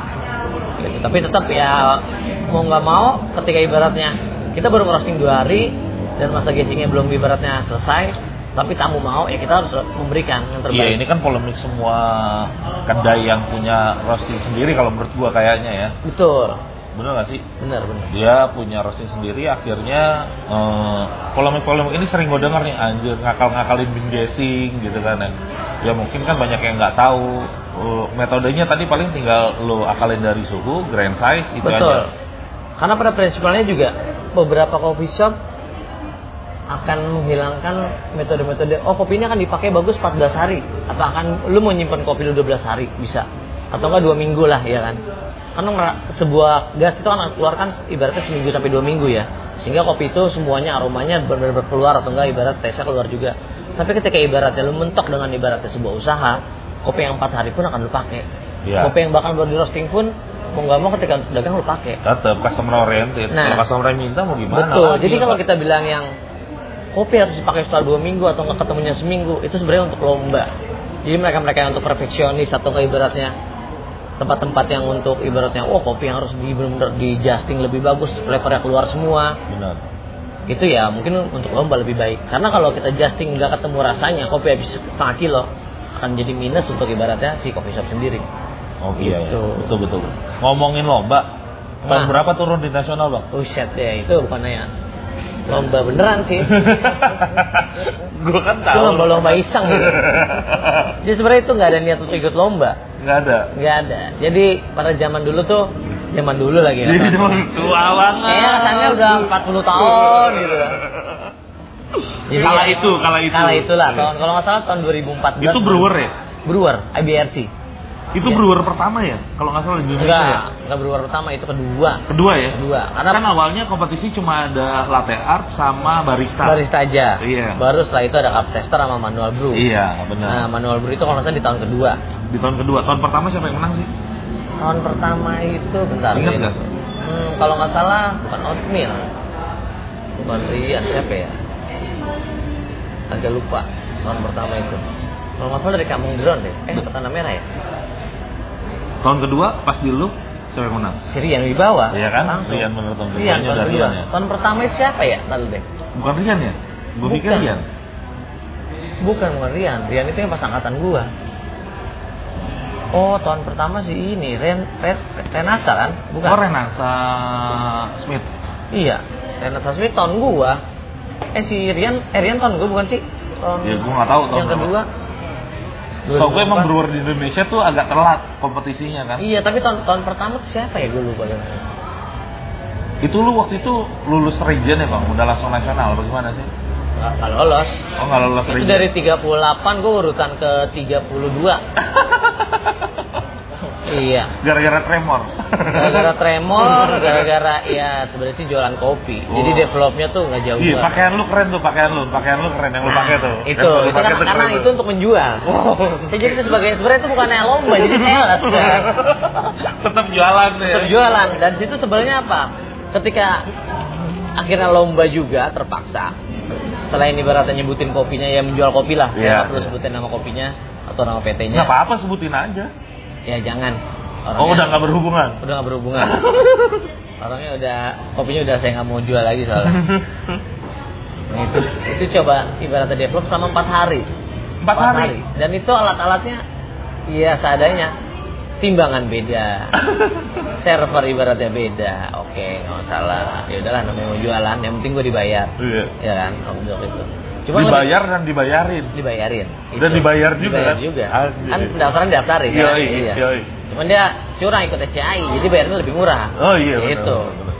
gitu. Tapi tetap ya mau nggak mau ketika ibaratnya kita baru crossing dua hari dan masa gasingnya belum ibaratnya selesai tapi tamu mau ya kita harus memberikan yang terbaik. Iya ini kan polemik semua kedai yang punya roasting sendiri kalau menurut gua kayaknya ya. Betul. Bener gak sih? Benar, benar. Dia punya roasting sendiri akhirnya eh, polemik-polemik ini sering gua denger nih anjir ngakal-ngakalin bin guessing gitu kan. Dan Ya mungkin kan banyak yang nggak tahu Eh, metodenya tadi paling tinggal lo akalin dari suhu, grand size itu Betul. aja. Karena pada prinsipalnya juga beberapa coffee shop akan menghilangkan metode-metode oh kopi ini akan dipakai bagus 14 hari atau akan lu mau nyimpan kopi lu 12 hari bisa atau enggak dua minggu lah ya kan karena ngera- sebuah gas itu kan keluarkan ibaratnya seminggu sampai dua minggu ya sehingga kopi itu semuanya aromanya benar-benar keluar atau enggak ibarat tesnya keluar juga tapi ketika ibaratnya lu mentok dengan ibaratnya sebuah usaha kopi yang empat hari pun akan lu pakai Iya. kopi yang bakal baru di roasting pun mau nggak mau ketika untuk dagang lu pakai Tetap customer oriented. Nah. Kalau customer yang minta mau gimana? Kan gitu. Betul. lagi, Jadi kalau Pak? kita bilang yang kopi harus dipakai setelah dua minggu atau nggak ketemunya seminggu, itu sebenarnya untuk lomba. Jadi mereka-mereka yang untuk perfeksionis atau nggak ibaratnya tempat-tempat yang untuk ibaratnya, oh kopi yang harus di benar di adjusting lebih bagus, flavornya keluar semua, benar. itu ya mungkin untuk lomba lebih baik. Karena kalau kita adjusting nggak ketemu rasanya, kopi habis setengah kilo akan jadi minus untuk ibaratnya si coffee shop sendiri. Oh iya, iya. Gitu. betul betul. Ngomongin lomba, tahun Nah. berapa turun di nasional bang? Oh shit ya itu bukan ya lomba beneran sih. Gue kan Itu tahu. lomba-lomba iseng gitu. Jadi sebenarnya itu nggak ada niat untuk ikut lomba. Nggak ada. Nggak ada. Jadi pada zaman dulu tuh, zaman dulu lagi ya. Jadi cuma tua banget. Kayaknya rasanya udah 40 tahun gitu. Jadi Iya. Kala ya, itu, kala itu. Kala itulah. Iya. Tahun, kalau nggak salah tahun 2014. Itu brewer ya? Brewer, IBRC. Itu Iya. brewer pertama ya? Kalau nggak salah di Indonesia Enggak, ya? enggak brewer pertama, itu kedua. Kedua ya? Kedua. Karena Karena kan awalnya kompetisi cuma ada latte art sama barista. barista aja. Iya. Baru setelah itu ada cup tester sama manual brew. Iya, benar. Nah, manual brew itu kalau nggak salah di tahun kedua. Di tahun kedua, tahun pertama siapa yang menang sih? Tahun pertama itu bentar. Ingat Win. nggak? Hmm, kalau nggak salah bukan oatmeal. Bukan Rian siapa ya? Agak lupa tahun pertama itu. Kalau nggak salah dari Kampung Drone deh. Eh, ke Tanah Merah ya? Tahun kedua pas di loop siapa yang menang? Si Rian Wibawa. Iya kan? Langsung. Rian bener tahun Rian, keduanya tahun udah kedua. Rian ya. Tahun pertama itu siapa ya? Lalu deh. Bukan Rian ya? Gue pikir Bukan. Rian. Bukan bukan Rian. Rian itu yang pas angkatan gua. Oh, tahun pertama sih ini Ren, Ren Renasa kan? Bukan. Oh Renasa Smith. Iya. Renasa Smith tahun gua. Eh si Rian, eh Rian tahun gua bukan sih? Tahun Ya gue nggak tahu tahun yang berapa. kedua. So gue 2004. emang brewer di Indonesia tuh agak telat kompetisinya kan. Iya, tapi tahun tahun pertama tuh siapa ya gue lupa. Itu lu waktu itu lulus region ya bang? Udah langsung nasional atau gimana sih? Nggak nggak lolos. Oh nggak lulus Itu region. dari 38 gue urutan ke 32. iya. gara-gara tremor. Gara-gara tremor, gara-gara ya sebenarnya sih jualan kopi. Jadi Oh. developnya tuh nggak jauh Iya, banget. pakaian lu keren tuh, pakaian lu, pakaian lu keren yang lu pakai tuh. Itu, Yang lu itu pakai kan tuh karena keren itu tuh. untuk menjual. Saya Ya, jadi itu sebagai sebenarnya itu bukan lomba, jadi sales kan. ya. Tetap jualan ya. Tetap jualan dan situ sebenarnya apa? Ketika akhirnya lomba juga terpaksa. Selain ibaratnya nyebutin kopinya ya menjual kopi lah. Iya. Saya nggak perlu sebutin nama kopinya atau nama PT-nya. Nggak apa-apa sebutin aja. Ya jangan. Oh udah nggak berhubungan. udah nggak berhubungan. Orangnya udah kopinya udah saya nggak mau jual lagi soalnya. Nah, itu itu coba ibaratnya develop sama empat hari. Empat hari. Dan itu alat-alatnya iya seadanya. Timbangan beda. Server ibaratnya beda. Oke, nggak masalah. Ya udahlah namanya mau jualan, yang penting gue dibayar. Iya. Ya kan, untuk itu. dibayar dan dibayarin. lebih- dibayarin. Dan Itu. dibayar juga Dibayar kan? juga. Anjir. Kan pendaftaran daftarin kan? Yoi, yoi. Cuman dia curang ikut SCI, jadi bayarnya lebih murah. Oh iya. benar, Gitu. benar, benar.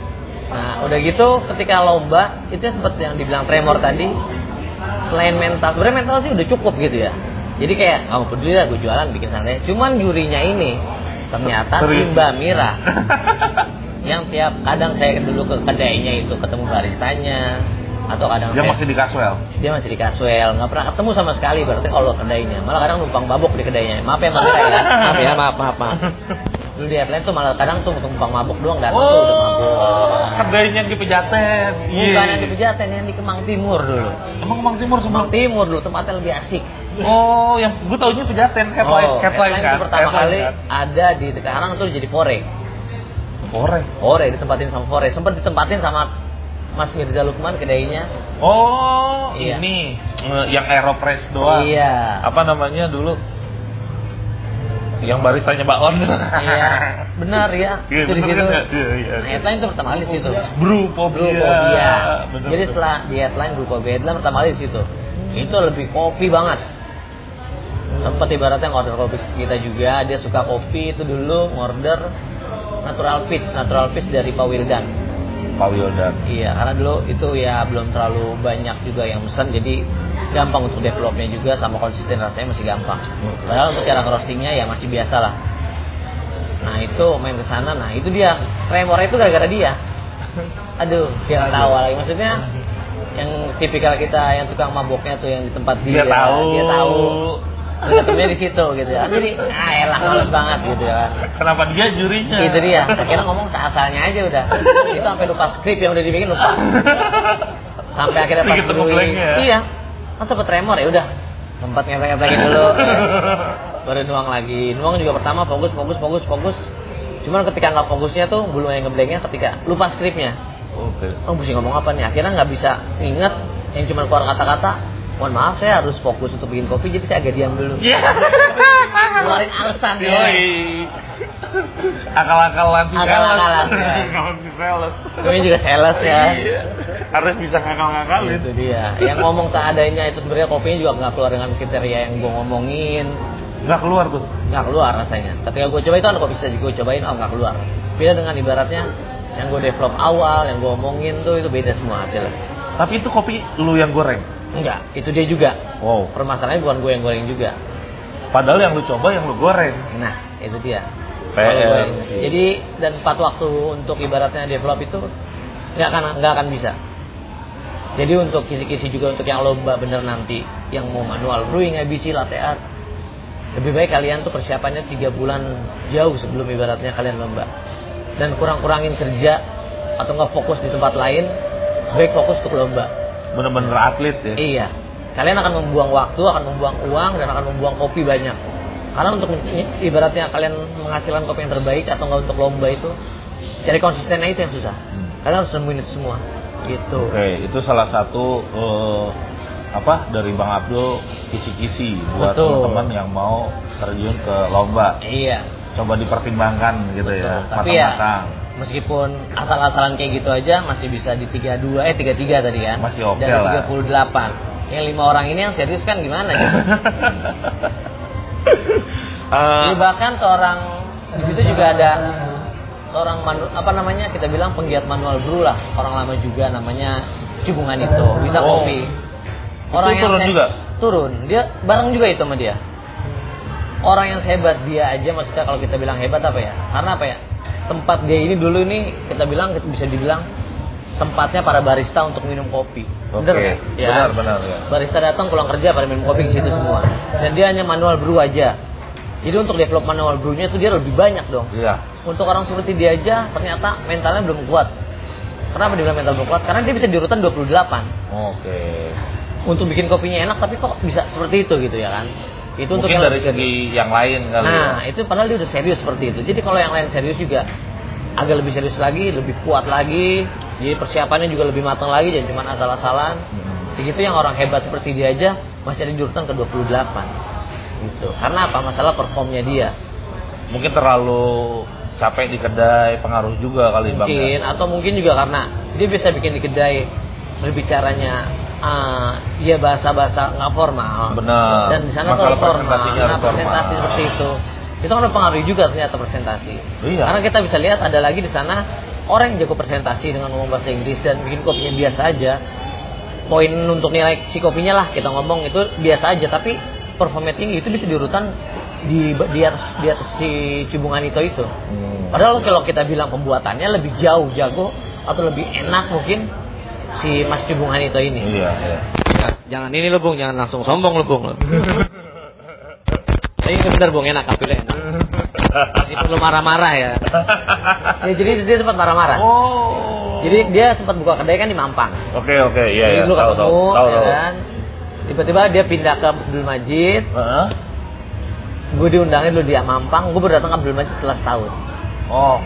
Nah, udah gitu ketika lomba itu yang seperti yang dibilang tremor tadi, selain mental, sebenarnya mental sih udah cukup gitu ya. Jadi kayak nggak mau peduli lah gue jualan bikin santai. Cuman jurinya ini ternyata si Serius. Mbak Mira yang tiap kadang saya dulu ke kedainya itu ketemu baristanya atau kadang Dia saya- masih di Caswell. dia masih di Kaswel nggak pernah ketemu sama sekali berarti kalau kedainya malah kadang numpang mabuk di kedainya maaf ya maaf ya kan? maaf ya maaf maaf maaf dulu di Atlanta tuh malah kadang tuh numpang mabuk doang datang tuh udah Iya. mabuk Oh, kedainya Oh. di Pejaten. bukan yang di Pejaten yang di Kemang Timur dulu Emang iya, Kemang Timur Kemang sebelum Timur dulu tempatnya lebih asik Oh, yang gue taunya Pejaten, headline, Oh, headline, headline kan. itu pertama Headline, kali kan? ada di sekarang tuh jadi pore korek. Ore ditempatin sama Fore. Sempat ditempatin sama Mas Mirza Lukman kedainya. Oh, Iya. ini eh, yang Aeropress doang. Iya. Apa namanya dulu? Yang baristanya Baon. Iya. Benar ya. Iya, Itu di benar situ. kan ya? Iya, iya, iya. Headline itu pertama kali di situ. Brupobia. Grupobia. Bener, Jadi bener. setelah di headline Grupobia headline pertama kali di situ. Itu lebih kopi banget. Sempet ibaratnya order kopi kita juga, dia suka kopi itu dulu order natural peach, natural peach dari Pak Wildan. Pak Wildan. Iya, karena dulu itu ya belum terlalu banyak juga yang pesan, jadi gampang untuk developnya juga sama konsisten rasanya masih gampang. Oke. Padahal untuk cara roastingnya ya masih biasa lah. Nah itu main ke sana, nah itu dia tremor itu gara-gara dia. Aduh, dia tahu lagi maksudnya yang tipikal kita yang tukang maboknya tuh yang di tempat Dia tahu. Iya, dia tahu. Terus Ketemunya di situ gitu ya. Jadi ah elah males banget gitu ya. Kenapa dia jurinya? Itu dia, akhirnya ngomong seasalnya aja udah. Itu sampai lupa skrip yang udah dibikin lupa sampai akhirnya pas Bikin dulu tepuk lengnya. iya kan sempet tremor ya udah sempat ngepek ngepekin dulu ya. baru nuang lagi nuang juga pertama fokus fokus fokus fokus cuman ketika nggak fokusnya tuh belum yang ngeblanknya ketika lupa skripnya Oke. oh mesti ngomong apa nih akhirnya nggak bisa inget yang cuma keluar kata-kata mohon maaf saya harus fokus untuk bikin kopi jadi saya agak diam dulu Iya. keluarin alasan ya. Yoi. Akal-akalan si Akal-akalan, sales. ya. Akal-akalan si sales. Namanya juga sales ya Iya, Iya. Harus bisa ngakal-ngakalin. itu dia yang ngomong seadanya itu sebenarnya kopinya juga nggak keluar dengan kriteria yang gue ngomongin Nggak keluar tuh. nggak keluar rasanya. Ketika gue coba itu kan kok bisa gue cobain, oh nggak keluar. Beda dengan ibaratnya yang gue develop awal, yang gue omongin tuh itu beda semua hasilnya. Tapi itu kopi lu yang goreng. Enggak, itu dia juga. Wow. Permasalahannya bukan gue yang goreng juga. Padahal yang lu coba yang lu goreng. Nah, itu dia. PR Kalau gue- sih. Jadi dan tepat waktu untuk ibaratnya develop itu nggak akan nggak akan bisa. Jadi untuk kisi-kisi juga untuk yang lomba bener nanti yang mau manual brewing, IBC, latte art lebih baik kalian tuh persiapannya tiga bulan jauh sebelum ibaratnya kalian lomba dan kurang-kurangin kerja atau nggak fokus di tempat lain baik fokus untuk lomba Bener-bener atlet ya. iya kalian akan membuang waktu akan membuang uang dan akan membuang kopi banyak karena untuk men- ibaratnya kalian menghasilkan kopi yang terbaik atau nggak untuk lomba itu cari konsistennya itu yang susah Hmm. kalian harus nemuin itu semua gitu Oke, itu salah satu eh, apa dari Bang Abdul kisi-kisi buat Betul. teman-teman yang mau terjun ke lomba. iya Coba dipertimbangkan gitu Betul. ya, Tapi ya, matang-matang. meskipun asal-asalan kayak gitu aja masih bisa di 32 eh 33 tadi kan. Masih oke Dari lah. 38. Yang lima orang ini yang serius kan gimana ya? Eh, Jadi bahkan seorang di situ juga ada seorang manu- apa namanya kita bilang penggiat manual brew lah, orang lama juga namanya Cibungan itu, bisa Oh. kopi. Itu turun se- juga? Turun. Dia bareng juga itu sama dia. Orang yang hebat dia aja maksudnya kalau kita bilang hebat apa ya? Karena apa ya? Tempat dia ini dulu ini kita bilang bisa dibilang tempatnya para barista untuk minum kopi. Oke, Bener nggak? Ya. benar benar ya. Barista datang pulang kerja pada minum kopi di situ semua. Dan dia hanya manual brew aja. Jadi untuk develop manual brew-nya itu dia lebih banyak dong. Iya. Untuk orang seperti dia aja ternyata mentalnya belum kuat. Kenapa dia bilang mental belum kuat? Karena dia bisa di urutan 28. Oke. Untuk bikin kopinya enak tapi kok bisa seperti itu gitu ya kan. Itu untuk Mungkin yang dari lebih serius. segi yang lain kali Nah, ya. itu padahal dia udah serius seperti itu. Jadi kalau yang lain serius juga agak lebih serius lagi, lebih kuat lagi. Jadi persiapannya juga lebih matang lagi dan cuma asal-asalan. Hmm. Segitu yang orang hebat seperti dia aja masih ada di urutan ke-28. Gitu. Karena apa? Masalah performnya dia. Mungkin terlalu capek di kedai, pengaruh juga kali Bang. mungkin ya. atau mungkin juga karena dia bisa bikin di kedai berbicaranya eh ya bahasa-bahasa nggak formal Benar. dan di sana tuh Masalah harus formal presentasinya karena harus presentasi formal. seperti itu itu kan mempengaruhi juga ternyata presentasi Iya. karena kita bisa lihat ada lagi di sana orang yang jago presentasi dengan ngomong bahasa Inggris dan bikin kopinya biasa aja poin untuk nilai si kopinya lah kita ngomong itu biasa aja tapi performa tinggi itu bisa diurutan di di atas di atas si cibungan itu itu Hmm. Padahal kalau kita bilang pembuatannya lebih jauh jago atau lebih enak mungkin si Mas Cibungan itu ini. Iya, iya. Jangan ini lo Bung, jangan langsung sombong lo Bung. Tapi ini bener Bung, enak kapilnya enak. Masih perlu marah-marah ya. Ya, jadi dia sempat marah-marah. Oh. Jadi dia sempat buka kedai kan di Mampang. Oke oke iya Jadi iya dulu tahu ketemu, tahu tahu ya tahu. kan. Tiba-tiba dia pindah ke Abdul Majid. Heeh. Gue diundangnya dulu di Mampang, gue baru datang ke Abdul Majid setelah setahun. Oke. Oh,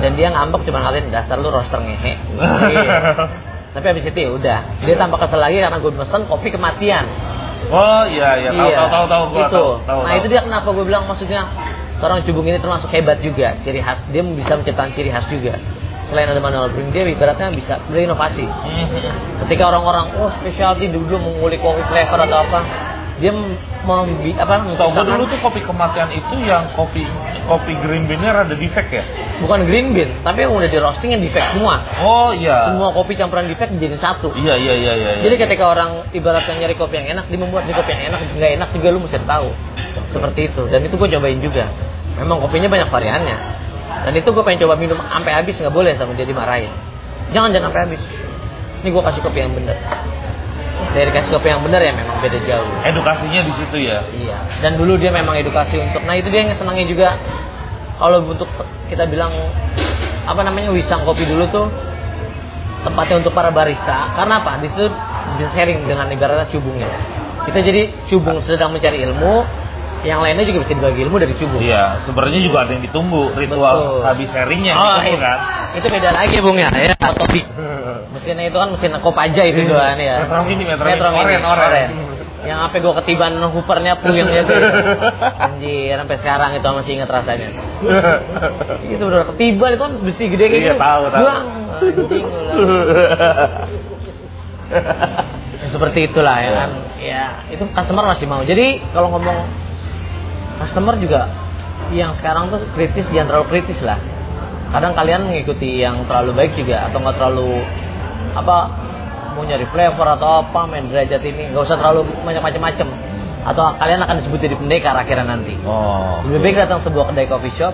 dan dia ngambek cuma ngatain dasar lu roster ngehe Iya. tapi habis itu ya udah dia Iya. tambah kesel lagi karena gue pesen kopi kematian Oh iya iya tahu tahu tahu tahu gua itu tahu, tahu, nah tahu. itu dia kenapa gue bilang maksudnya seorang cubung ini termasuk hebat juga ciri khas dia bisa menciptakan ciri khas juga selain ada manual brewing dia ibaratnya bisa berinovasi Mhm. ketika orang-orang oh specialty dulu mengulik kopi flavor atau apa dia membi apa Setahu gua menciptakan- dulu tuh kopi kematian itu yang kopi kopi green bean rada defect ya. bukan green bean tapi yang udah di roasting yang defect semua Oh iya. semua kopi campuran defect jadi satu Iya iya iya iya. iya. Jadi ketika orang ibaratnya nyari kopi yang enak, dia membuat nih kopi yang enak, nggak enak juga lu mesti tahu. Seperti itu. Dan itu gue cobain juga. Memang kopinya banyak variannya. Dan itu gue pengen coba minum sampai habis nggak boleh sama dia dimarahin. Jangan jangan sampai habis. Ini gue kasih kopi yang bener. Dari kasih kopi yang bener ya memang beda jauh. edukasinya di situ ya. Iya. Dan dulu dia memang edukasi untuk. Nah itu dia yang senangnya juga. Kalau untuk kita bilang apa namanya wisang kopi dulu tuh tempatnya untuk para barista. Karena apa? Di situ bisa sharing dengan ibaratnya cubungnya. Kita jadi cubung sedang mencari ilmu, yang lainnya juga bisa dibagi ilmu dari cubung. Iya, sebenarnya juga ada yang ditunggu ritual Betul. habis sharingnya Oh, ditunggu itu, kan. itu beda lagi bung ya, ya kopi. Mesinnya itu kan mesin kop aja itu Iya. doan ya. Metro Mini, Metro Mini. Metro Mini, Oren, oren. oren. Yang sampai gua ketiban hoopernya puyengnya tuh. Anjir, sampai sekarang itu masih ingat rasanya. Itu bener ketiban itu kan besi gede kayak Iya, tahu, tahu. Buang. Anjing, lu. Ya, seperti itulah ya Iya. kan. Ya, itu customer masih mau. Jadi kalau ngomong customer juga yang sekarang tuh kritis jangan terlalu kritis lah. Kadang kalian ngikuti yang terlalu baik juga atau nggak terlalu apa mau nyari flavor atau apa main derajat ini nggak usah terlalu banyak macam-macam atau kalian akan disebut jadi pendekar akhirnya nanti. oh. Lebih baik datang sebuah kedai coffee shop,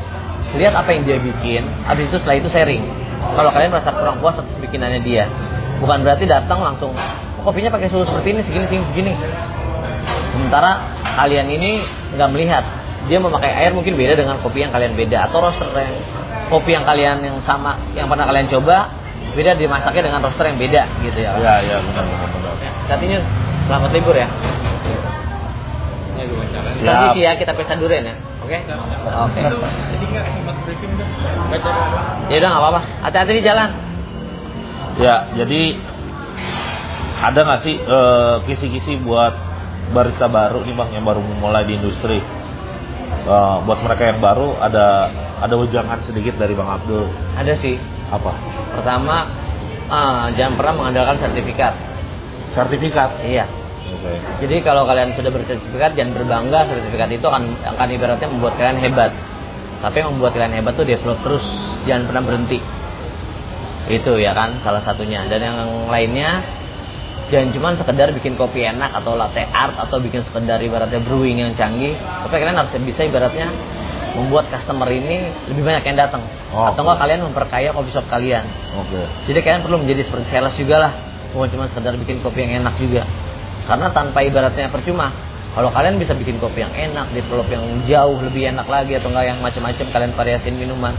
lihat apa yang dia bikin, habis itu setelah itu sharing. Kalau kalian merasa kurang puas atas bikinannya dia, bukan berarti datang langsung "Oh, kopinya pakai suhu seperti ini, segini, segini, segini. Sementara kalian ini nggak melihat dia memakai air mungkin beda dengan kopi yang kalian beda atau roster yang kopi yang kalian yang sama yang pernah kalian coba beda dimasaknya dengan roster yang beda gitu ya. Iya, iya benar benar benar. Katanya selamat libur ya. Nanti sih ya kita pesta durian ya. Oke. Oke. Ya udah nggak apa-apa. Hati-hati di jalan. Ya, jadi ada nggak sih eh, kisi-kisi buat barista baru nih bang yang baru memulai di industri? Eh, buat mereka yang baru ada ada wejangan sedikit dari bang Abdul Ada sih. apa? Pertama, eh, jangan pernah mengandalkan sertifikat. Sertifikat. Iya. Oke. Jadi kalau kalian sudah bersertifikat, jangan berbangga. Sertifikat itu akan akan ibaratnya membuat kalian hebat. Tapi yang membuat kalian hebat tuh develop terus, jangan pernah berhenti. Itu ya kan salah satunya. Dan yang lainnya jangan cuma sekedar bikin kopi enak atau latte art atau bikin sekedar ibaratnya brewing yang canggih. Tapi kalian harus bisa ibaratnya membuat customer ini lebih banyak yang datang. Oh. atau enggak kalian memperkaya coffee shop kalian. Oke. Jadi kalian perlu menjadi seperti sales juga lah. Bukan cuma sekedar bikin kopi yang enak juga. Karena tanpa ibaratnya percuma. Kalau kalian bisa bikin kopi yang enak, develop yang jauh lebih enak lagi atau enggak yang macam-macam kalian variasiin minuman.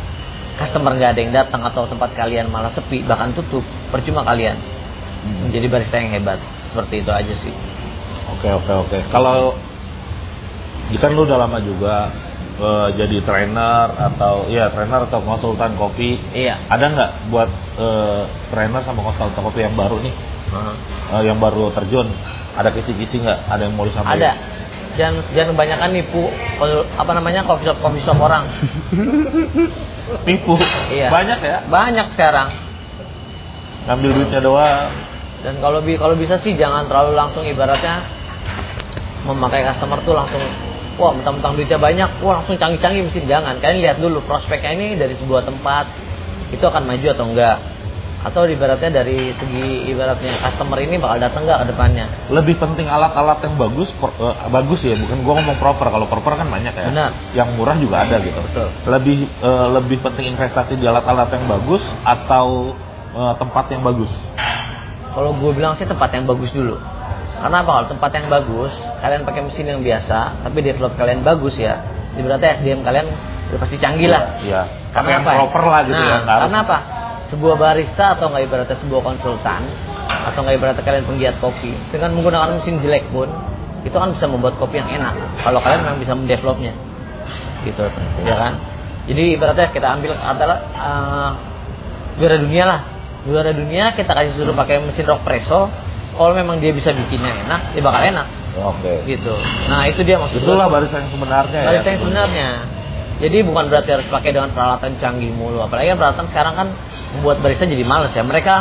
Customer nggak ada yang datang atau tempat kalian malah sepi bahkan tutup. Percuma kalian menjadi barista yang hebat. Seperti itu aja sih. Oke oke oke. Kalau jika lu udah lama juga eh, jadi trainer atau ya trainer atau konsultan kopi, Iya. ada nggak buat eh, trainer sama konsultan kopi yang baru nih, eh, yang baru terjun, ada kisi-kisi nggak? Ada yang mau disampaikan? Ada. Jangan jangan kebanyakan nipu kalau- apa namanya coffee shop coffee shop orang. Tipu. Iya. Banyak ya. Banyak sekarang. Ngambil duitnya doang. dan kalau bi kalau bisa sih jangan terlalu langsung ibaratnya memakai customer tuh langsung wah mentang-mentang duitnya banyak wah langsung canggih-canggih mesin jangan kalian lihat dulu prospeknya ini dari sebuah tempat itu akan maju atau enggak atau ibaratnya dari segi ibaratnya customer ini bakal datang enggak ke depannya Lebih penting alat-alat yang bagus, pro- eh, bagus ya. Bukan gua ngomong proper. Kalau proper kan banyak ya. Benar. Iya, Yang murah juga ada gitu. Betul. Lebih eh, lebih penting investasi di alat-alat yang bagus atau eh, tempat yang bagus. kalau gue bilang sih tempat yang bagus dulu karena apa kalau tempat yang bagus kalian pakai mesin yang biasa tapi develop kalian bagus ya ibaratnya SDM kalian udah pasti canggih lah Iya. Tapi yang apa ya? proper lah nah, gitu ya. nggak harus- Karena apa? Sebuah barista atau nggak ibaratnya sebuah konsultan atau nggak ibaratnya kalian penggiat kopi dengan menggunakan mesin jelek pun itu kan bisa membuat kopi yang enak kalau kalian memang bisa mendevelopnya gitu ya kan Jadi ibaratnya kita ambil antara eh, juara dunia lah. Juara dunia kita kasih suruh pakai mesin rock presso. Kalau memang dia bisa bikinnya enak, dia bakal enak Oke. gitu. Nah itu dia maksud Itulah barisan yang sebenarnya ya. Barista yang sebenarnya. Jadi bukan berarti harus pakai dengan peralatan canggih mulu. Apalagi kan peralatan sekarang kan membuat barista jadi males ya. Mereka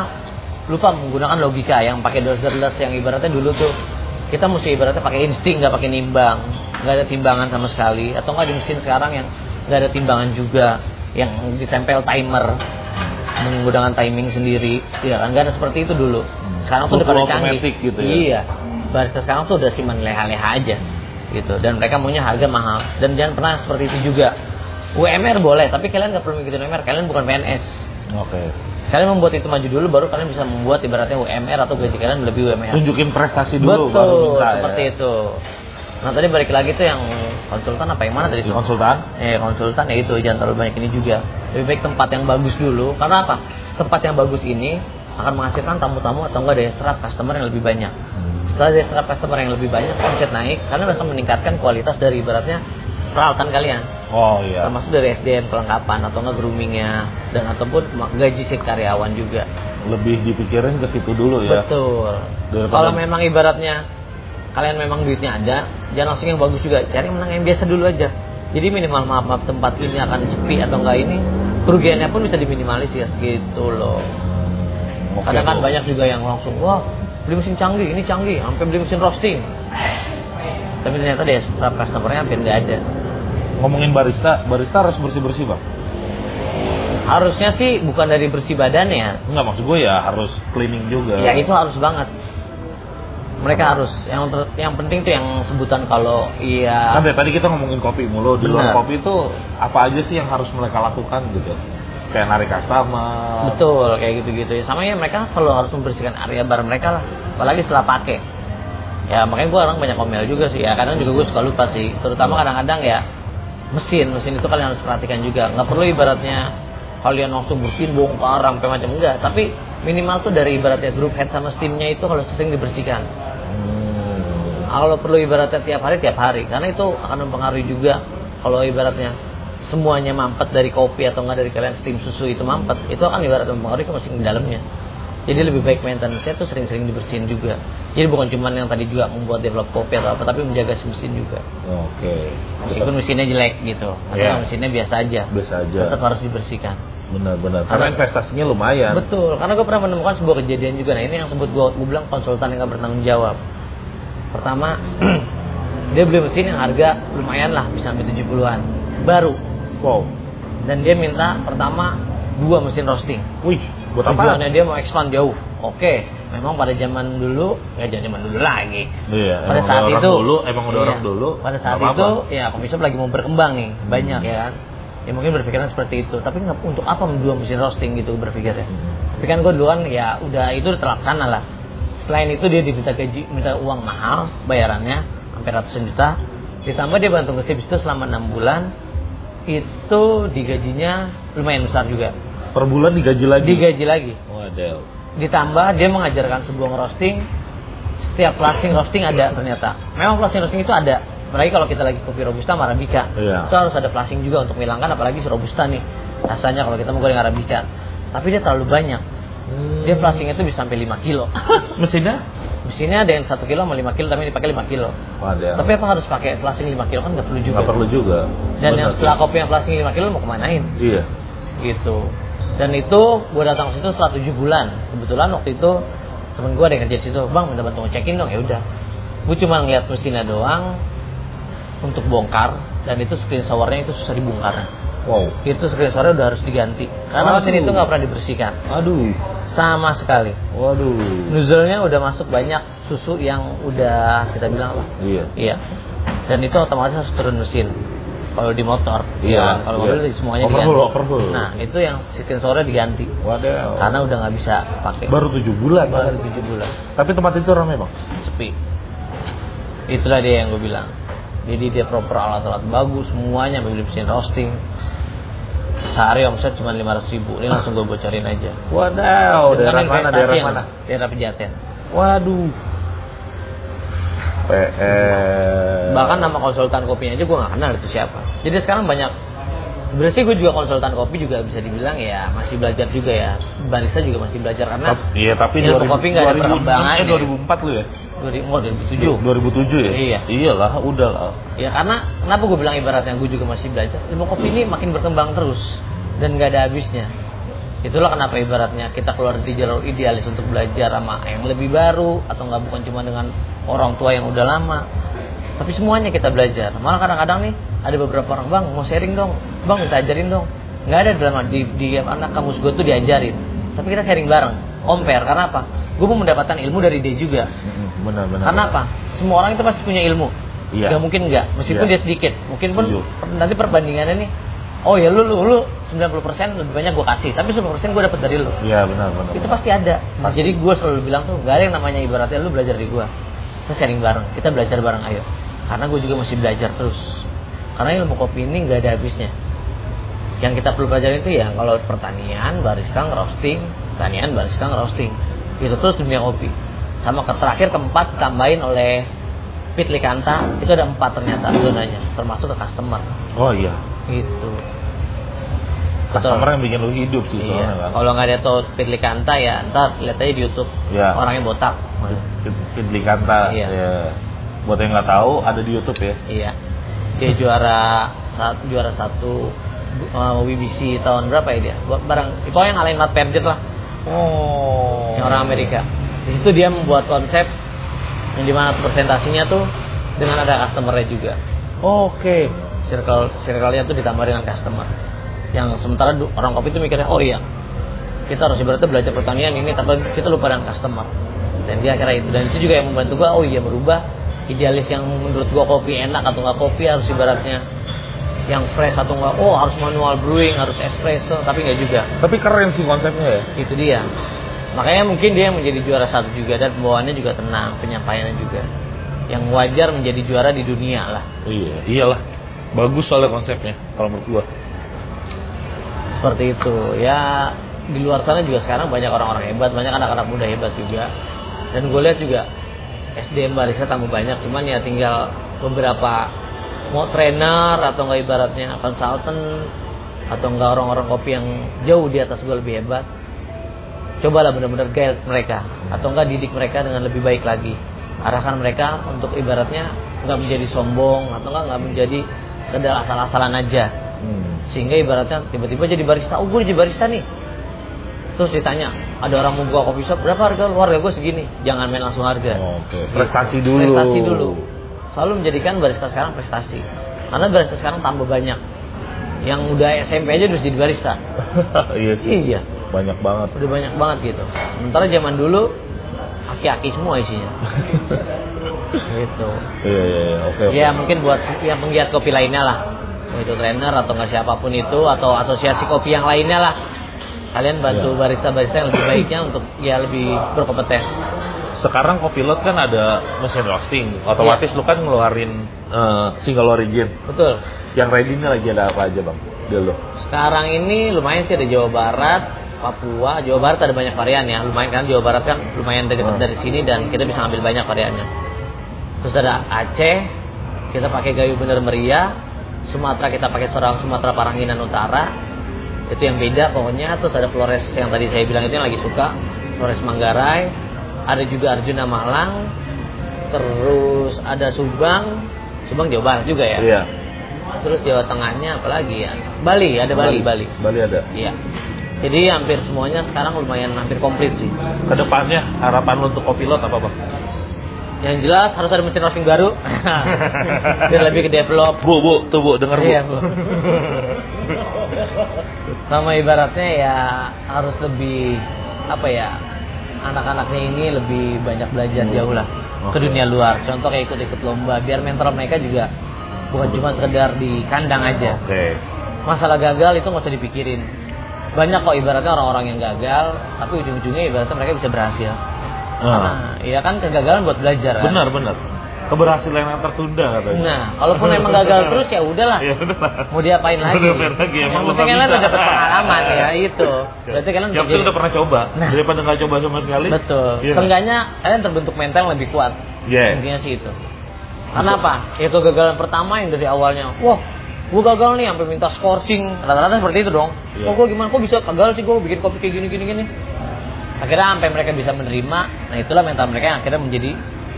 lupa menggunakan logika yang pakai dozer-dozer yang ibaratnya dulu tuh kita mesti ibaratnya pakai insting nggak pakai nimbang nggak ada timbangan sama sekali atau nggak di mesin sekarang yang nggak ada timbangan juga yang ditempel timer menggunakan timing sendiri ya kan nggak ada seperti itu dulu sekarang tuh udah Full pada canggih automatic Hmm. gitu ya. iya barista sekarang tuh udah cuman leha-leha aja gitu dan mereka maunya harga mahal dan jangan pernah seperti itu juga UMR boleh tapi kalian nggak perlu ngikutin UMR kalian bukan PNS Oke. kalian membuat itu maju dulu baru kalian bisa membuat ibaratnya UMR atau gaji kalian lebih UMR Tunjukin prestasi dulu baru minta ya. seperti itu nah tadi balik lagi tuh yang konsultan apa yang mana tadi tuh? Konsultan? eh konsultan ya itu jangan terlalu banyak ini juga lebih baik tempat yang bagus dulu karena apa tempat yang bagus ini akan menghasilkan tamu-tamu atau enggak daya serap customer yang lebih banyak Hmm. setelah daya serap customer yang lebih banyak omset naik karena akan meningkatkan kualitas dari ibaratnya peralatan kalian Oh iya. termasuk dari SDM kelengkapan atau enggak groomingnya dan ataupun gaji si karyawan juga Lebih dipikirin ke situ dulu ya. Betul. Daripada- Kalau memang ibaratnya kalian memang duitnya ada, jangan langsung yang bagus juga. Cari menang yang biasa dulu aja. Jadi minimal maaf maaf tempat ini akan sepi atau enggak ini kerugiannya pun bisa diminimalisir gitu loh. Hmm, Oke, Kadang kan tuh. banyak juga yang langsung wah beli mesin canggih, ini canggih, sampai beli mesin roasting. Tapi ternyata dia staff customernya hampir nggak ada. Ngomongin barista, barista harus bersih-bersih, Bang. Harusnya sih bukan dari bersih badannya, Enggak maksud gue ya harus cleaning juga. ya itu harus banget. Mereka harus. Yang ter- yang penting tuh yang sebutan kalau iya Kan dari tadi kita ngomongin kopi mulu. Di luar Benar. kopi itu apa aja sih yang harus mereka lakukan gitu? Kayak narik customer. Betul, kayak gitu-gitu. Ya, sama ya mereka selalu harus membersihkan area bar mereka lah. Apalagi setelah pakai. Ya makanya gue orang banyak omel juga sih. Ya kadang juga gue suka lupa sih. Terutama kadang-kadang ya mesin, mesin itu kalian harus perhatikan juga. Nggak perlu ibaratnya kalian langsung bersihin bongkar sampai macam enggak. Tapi minimal tuh dari ibaratnya group head sama steamnya itu kalau sering dibersihkan. Hmm. Kalau perlu ibaratnya tiap hari tiap hari, karena itu akan mempengaruhi juga kalau ibaratnya semuanya mampet dari kopi atau enggak dari kalian steam susu itu mampet, itu akan ibaratnya mempengaruhi ke mesin dalamnya. Jadi lebih baik maintenance-nya itu sering-sering dibersihin juga. Jadi bukan cuma yang tadi juga membuat develop kopi atau apa, tapi menjaga si mesin juga. Oke. Meskipun mesinnya jelek gitu, atau Iya. mesinnya biasa aja, Biasa aja. tetap harus dibersihkan. Benar-benar. Karena investasinya lumayan. Betul, karena gue pernah menemukan sebuah kejadian juga. Nah ini yang sebut gue, gue bilang konsultan yang gak bertanggung jawab. Pertama, dia beli mesin yang harga lumayan lah, bisa sampai 70-an. Baru. Wow. Dan dia minta pertama dua mesin roasting. Wih, buat Tujuannya apa? dia mau expand jauh. Oke, memang pada zaman dulu, ya jangan zaman dulu lagi. Iya, pada emang saat udah orang itu, dulu, emang udah iya, orang dulu, Pada saat nggak itu, apa-apa. Hmm. ya coffee shop lagi mau berkembang nih, banyak ya kan. Ya mungkin berpikiran seperti itu, tapi nggak- untuk apa dua mesin roasting gitu berpikirnya. Tapi kan gue dulu kan ya udah itu terlaksana lah. Selain itu dia diminta gaji, minta uang mahal, bayarannya hampir ratusan juta. Ditambah dia bantu ngesip itu selama enam bulan, itu digajinya lumayan besar juga. Per bulan digaji lagi. Digaji lagi. Waduh. Ditambah dia mengajarkan sebuah roasting. Setiap klasing roasting ada ternyata. Memang klasing roasting itu ada. Apalagi kalau kita lagi kopi robusta sama arabica. Iya. Itu harus ada klasing juga untuk menghilangkan apalagi si robusta nih. Rasanya kalau kita mau goreng arabica. Tapi dia terlalu banyak. Dia plastingnya itu bisa sampai 5 kilo. Mesinnya? Mesinnya ada yang 1 kilo sama 5 kilo tapi dipakai 5 kilo. Waduh. Tapi apa harus pakai plasting 5 kilo kan nggak perlu juga. Iya. nggak perlu juga. Dan yang Benar setelah sih. kopi yang plasting 5 kilo mau kemanain? Iya. gitu dan itu gue datang ke situ setelah tujuh bulan kebetulan waktu itu temen gue ada yang kerja di situ bang minta bantu ngecekin dong ya udah gue cuma ngeliat mesinnya doang untuk bongkar dan itu screen showernya itu susah dibongkar Wow. itu screen showernya udah harus diganti karena mesin Waduh. itu nggak pernah dibersihkan Aduh. sama sekali Waduh. nozzle-nya udah masuk banyak susu yang udah kita bilang apa Iya. Iya. Dan itu otomatis harus turun mesin. Kalau di motor, ya Iya, kan? Kalau iya. mobil semuanya Overhaul, diganti. overhaul. Nah, itu yang sistem sore diganti. Waduh. Karena udah nggak bisa pakai. Oh. baru tujuh bulan. Baru 7 bulan, Tapi tempat itu ramai bang. sepi. Itulah dia yang gue bilang. Jadi dia proper alat-alat bagus, semuanya beli mesin roasting. Sehari omset cuma 500 ribu, ini langsung gue bocorin aja. Waduh. Oh, Dengan Daerah mana? investasi Daerah yang- mana? Daerah Pejaten. Waduh. PR. Bahkan nama konsultan kopinya aja gue nggak kenal itu siapa. Jadi sekarang banyak sebenarnya sih gue juga konsultan kopi juga bisa dibilang ya masih belajar juga ya barista juga masih belajar karena Tap- Iya tapi ilmu kopi nggak ada 2000 perkembangan eh, 2004 lu ya? dari oh, 2007 2007 ya? Iya. Iyalah, udah lah. ya karena kenapa gue bilang ibaratnya gue juga masih belajar ilmu kopi ini makin berkembang terus dan nggak ada habisnya itulah kenapa ibaratnya kita keluar dari jalur idealis untuk belajar sama yang lebih baru atau nggak bukan cuma dengan orang tua yang udah lama tapi semuanya kita belajar malah kadang-kadang nih ada beberapa orang bang mau sharing dong bang minta ajarin dong nggak ada dalam di, di anak kamus gue tuh diajarin tapi kita sharing bareng compare karena apa gue mau mendapatkan ilmu dari dia juga Benar-benar. karena apa? Semua orang itu pasti punya ilmu. Iya. Nggak mungkin enggak, meskipun Iya. dia sedikit. Mungkin pun Setuju. per- nanti perbandingannya nih. Oh ya lu lu lu 90% lebih banyak gue kasih, tapi 10% gue dapat dari lu. Iya benar-benar. Itu pasti ada. Nah, Jadi gue selalu bilang tuh nggak ada yang namanya ibaratnya lu belajar dari gue. Kita sharing bareng, kita belajar bareng ayo. Karena gue juga masih belajar terus. Karena ilmu kopi ini nggak ada habisnya. Yang kita perlu pelajari itu ya kalau pertanian, barista, roasting, pertanian, barista, roasting. Itu terus dunia kopi. Sama ke terakhir keempat ditambahin oleh Pit Likanta itu ada empat ternyata zonanya termasuk ke customer Oh iya. gitu. Betul. Customer yang bikin lu hidup sih soalnya Iya. kan. Kalau nggak ada tau Pit Likanta ya ntar lihat aja di YouTube Iya. orangnya botak. Idli Kanta. Iya. ya. Buat yang nggak tahu ada di YouTube ya. Iya. Dia juara saat juara satu uh, WBC tahun berapa ya dia? Buat barang itu yang ngalahin Matt Perjet lah, Oh. yang orang Amerika. Di situ dia membuat konsep yang dimana presentasinya tuh dengan ada customernya juga. Oke. Circle circle-nya tuh ditambah dengan customer. Yang sementara du- orang kopi itu mikirnya oh iya kita harus ibaratnya belajar pertanian ini tapi kita lupa dengan customer. Dan dia akhirnya itu dan itu juga yang membantu gua oh iya berubah idealis yang menurut gua kopi enak atau nggak kopi harus ibaratnya yang fresh atau nggak oh harus manual brewing harus espresso tapi nggak juga Tapi keren sih konsepnya ya. itu dia makanya mungkin dia menjadi juara satu juga dan pembawaannya juga tenang penyampaiannya juga yang wajar menjadi juara di dunia lah Iya. Iyalah. Bagus soalnya konsepnya kalau menurut gua. seperti itu ya di luar sana juga sekarang banyak orang-orang hebat banyak anak-anak muda hebat juga dan gue lihat juga SDM barista tambah banyak cuman ya tinggal beberapa mau trainer atau nggak ibaratnya konsultan atau nggak orang-orang kopi yang jauh di atas gue lebih hebat cobalah benar-benar guide mereka atau enggak didik mereka dengan lebih baik lagi arahkan mereka untuk ibaratnya nggak menjadi sombong atau enggak nggak menjadi sekedar asal-asalan aja Hmm. sehingga ibaratnya tiba-tiba jadi barista oh gue jadi barista nih terus ditanya ada orang mau buka coffee shop berapa harga lu harga gue segini jangan main langsung harga Gitu. Oke. Prestasi dulu. prestasi dulu selalu menjadikan barista sekarang prestasi karena barista sekarang tambah banyak yang udah SMP aja terus jadi barista iya sih. iya Banyak banget. udah banyak banget gitu sementara zaman dulu aki-aki semua isinya gitu Iya iya iya. Oke. oke. ya mungkin buat yang penggiat kopi lainnya lah Mau itu trainer atau nggak siapapun itu atau asosiasi kopi yang lainnya lah kalian bantu Iya. barista-barista yang lebih baiknya untuk ya lebih berkompeten Sekarang Kopilot kan ada mesin roasting. Otomatis Iya. lu kan ngeluarin eh, single origin. betul Yang ready ini lagi ada apa aja bang? Dia lo. sekarang ini lumayan sih ada Jawa Barat Papua Jawa Barat ada banyak varian ya lumayan kan Jawa Barat kan lumayan dekat Hmm. dari sini dan kita bisa ambil banyak variannya terus ada Aceh kita pakai Gayu Bener Meriah Sumatera kita pakai Serang Sumatera Paranginan Utara itu yang beda pokoknya terus ada Flores yang tadi saya bilang itu yang lagi suka Flores Manggarai ada juga Arjuna Malang terus ada Subang Subang Jawa Barat juga ya Iya. terus Jawa Tengahnya apalagi ya Bali ada Bali Bali Bali ada. iya jadi hampir semuanya sekarang lumayan hampir komplit sih Kedepannya harapan lu untuk Kopilot apa bang? yang jelas harus ada mesin roasting baru biar lebih ke develop Bu bu tuh bu denger bu. Iya, Bu. sama ibaratnya ya harus lebih apa ya anak-anaknya ini lebih banyak belajar Hmm. jauh lah ke Oke. dunia luar contoh kayak ikut-ikut lomba biar mentor mereka juga bukan cuma sekedar di kandang aja Oke. masalah gagal itu nggak usah dipikirin banyak kok ibaratnya orang-orang yang gagal tapi ujung-ujungnya ibaratnya mereka bisa berhasil Nah, nah iya kan kegagalan buat belajar kan? benar benar. Keberhasilan yang tertunda katanya. nah kalaupun emang gagal terus ya udahlah Iya udahlah. mau diapain lagi Udah fair lagi emang yang lu penting nggak kalian bisa. udah dapet pengalaman ya itu berarti kalian Yang penting menjadi- udah pernah coba Nah. daripada nggak coba sama sekali. betul Iya. seenggaknya kalian terbentuk mental yang lebih kuat Iya. intinya sih itu karena apa ya kegagalan pertama yang dari awalnya wah gue gagal nih sampai minta scorching rata-rata seperti itu dong Iya. kok gue gimana kok bisa gagal sih gue bikin kopi kayak gini gini gini akhirnya sampai mereka bisa menerima nah itulah mental mereka yang akhirnya menjadi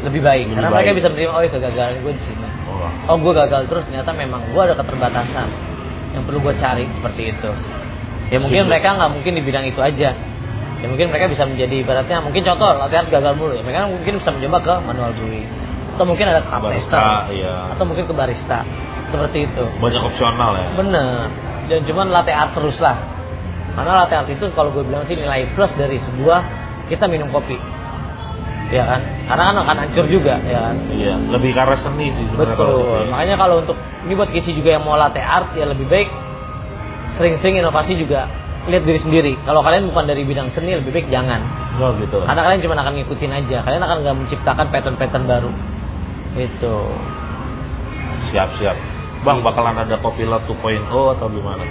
lebih baik Lebih karena baik. mereka bisa menerima oh ya kegagalan gue di sini Oh. oh gue gagal terus ternyata memang gue ada keterbatasan yang perlu gue cari seperti itu ya mungkin Setuju. mereka nggak mungkin di bidang itu aja ya mungkin mereka bisa menjadi ibaratnya mungkin contoh latihan gagal mulu ya mereka mungkin bisa mencoba ke manual brewing atau mungkin ada ke Barista, barista iya. atau mungkin ke barista seperti itu Banyak opsional ya. bener dan cuman latte art terus lah karena latte art itu kalau gue bilang sih nilai plus dari sebuah kita minum kopi ya kan karena kan akan hancur juga ya kan Iya, lebih karena seni sih sebenarnya kalau Betul. kopi. Makanya kalau untuk ini buat kisi juga yang mau latte art ya lebih baik sering-sering inovasi juga lihat diri sendiri. Kalau kalian bukan dari bidang seni lebih baik jangan. Oh gitu. Karena kalian cuma akan ngikutin aja. Kalian akan nggak menciptakan pattern-pattern baru. Gitu. Itu. Siap-siap. Bang, bakalan ada Copilot 2.0 atau gimana?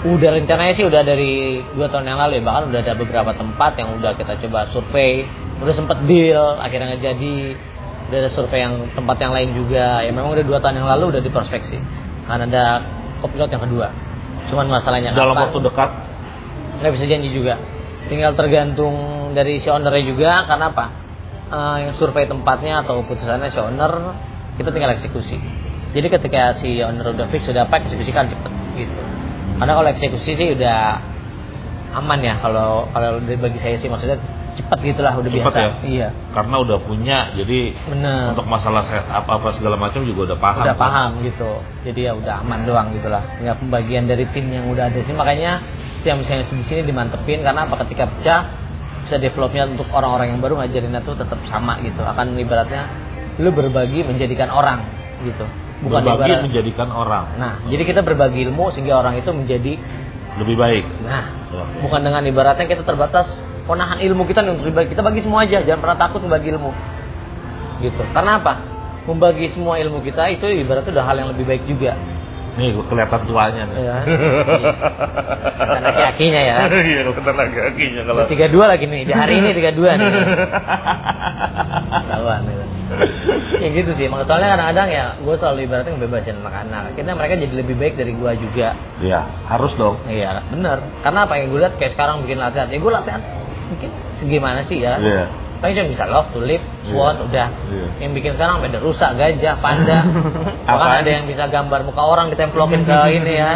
Udah rencananya sih udah dari dua tahun yang lalu ya. Bahkan udah ada beberapa tempat yang udah kita coba survei. Udah sempet deal akhirnya nggak jadi. Udah ada survei yang tempat yang lain juga. Ya memang udah dua tahun yang lalu udah diprospeksi. Karena ada kopilot yang kedua. Cuman masalahnya Dalam kapan? waktu dekat nggak bisa janji juga tinggal tergantung dari si ownernya juga karena apa Eh, yang survei tempatnya atau keputusannya si owner kita tinggal eksekusi jadi ketika si owner udah fix sudah apa eksekusikan cepet gitu karena kalau eksekusi sih udah aman ya kalau kalau dari bagi saya sih maksudnya cepet gitulah udah Cepet biasa ya? iya karena udah punya jadi bener untuk masalah setup apa segala macam juga udah paham. Hmm. udah paham gitu jadi ya udah aman doang gitulah ya pembagian dari tim yang udah ada sih makanya tim misalnya di sini dimantepin karena apa ketika pecah bisa developnya untuk orang-orang yang baru ngajarinnya tuh tetap sama gitu akan ibaratnya lu berbagi menjadikan orang gitu bukan Berbagi ibarat- menjadikan orang Hmm. nah jadi kita berbagi ilmu sehingga orang itu menjadi lebih baik. nah Oke. bukan dengan ibaratnya kita terbatas ponahan ilmu kita nih untuk dibagi kita bagi semua aja jangan pernah takut membagi ilmu gitu karena apa membagi semua ilmu kita itu ibaratnya udah hal yang lebih baik juga Nih kelihatan tuanya nih. ya Kelihatan laki-lakinya ya Iya, kelihatan laki-lakinya kalau. tiga dua lagi nih di hari ini tiga dua nih Ketahuan, gitu. ya gitu sih Makanya soalnya kadang-kadang ya gue selalu ibaratnya ngebebasin anak-anak akhirnya mereka jadi lebih baik dari gue juga Iya, harus dong. Iya, bener. Karena apa yang gue lihat kayak sekarang bikin latihan, ya gue latihan mungkin segimana sih ya. Iya. Paling cuma bisa love, tulip, swan, Iya. udah. Iya. Yang bikin sekarang beda rusa, gajah, panda. Bahkan Apaan? ada yang bisa gambar muka orang ditemplokin ke ini ya.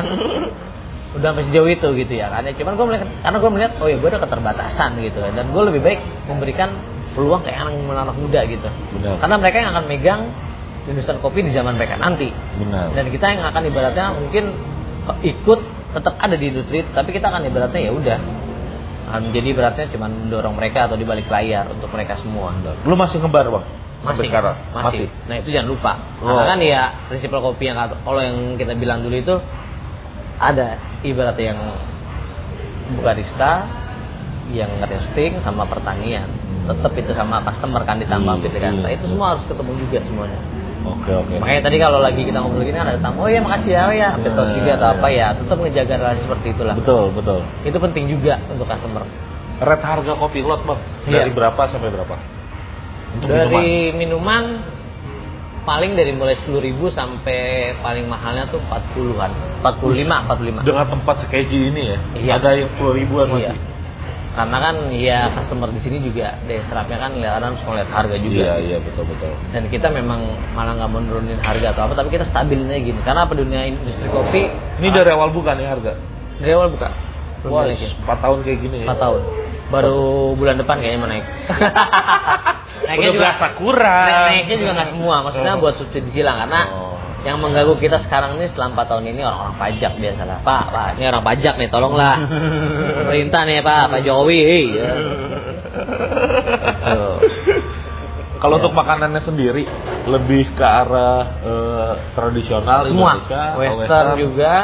Udah sampai sejauh itu gitu ya kan. Ya, Cuman gue melihat, karena gue melihat, oh ya gue ada keterbatasan gitu. Dan gue lebih baik memberikan peluang ke anak anak muda gitu. Benar. Karena mereka yang akan megang industrian kopi di zaman mereka nanti Benar. dan kita yang akan ibaratnya mungkin ikut tetap ada di industri tapi kita akan ibaratnya ya udah Akan menjadi ibaratnya cuma mendorong mereka atau di balik layar untuk mereka semua Lu masih ngebar, Bang? Sampai sekarang. masih nah itu jangan lupa Oh. karena kan ya prinsip kopi yang kata- kalau yang kita bilang dulu itu ada ibaratnya yang barista yang roasting sama pertanian tetap itu sama customer kan ditambah Iya, gitu kan iya. itu semua harus ketemu juga semuanya Oke, oke. Makanya tadi kalau lagi kita ngobrol gini kan ada tamu, oh ya makasih ya, oh ya, Nah, betul juga atau iya. apa ya, tetap ngejaga relasi seperti itulah. Betul, betul. Itu penting juga untuk customer. Red harga kopi lot, Bang. Iya. Dari berapa sampai berapa? Untuk dari minuman. paling dari mulai 10.000 sampai paling mahalnya tuh 40-an, 45, 45. dengan tempat sekeji ini ya Iya. ada yang puluh ribuan Iya. masih Karena kan ya customer di sini juga daya serapnya kan lihat harus ngeliat harga juga. iya iya betul betul dan kita memang malah nggak mau nurunin harga atau apa tapi kita stabilinnya gini karena apa dunia industri kopi ini dari awal bukan ya harga dari awal buka Belum Wah, naikin. empat tahun kayak gini ya 4 iya. tahun. Baru bulan depan kayaknya mau naik. udah berasa kurang naik- naiknya juga nggak semua, maksudnya buat subsidi silang karena Oh. yang mengganggu kita sekarang ini selama 4 tahun ini orang-orang pajak biasalah. Pak, Pak, ini orang pajak nih, tolonglah. Pemerintah nih, Pak, Pak Jokowi. hei. iya. Ya. Tuh. kalau Iya. untuk makanannya sendiri lebih ke arah eh, tradisional Semua, Indonesia atau Western juga,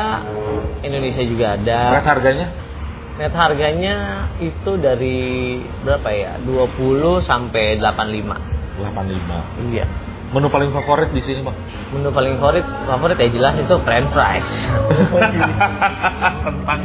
Indonesia juga ada. Red harganya Net harganya itu dari berapa ya? 20 sampai 85. delapan lima Iya. Menu paling favorit di sini, Pak. Menu paling favorit, favorit ya jelas itu french fries. Tentang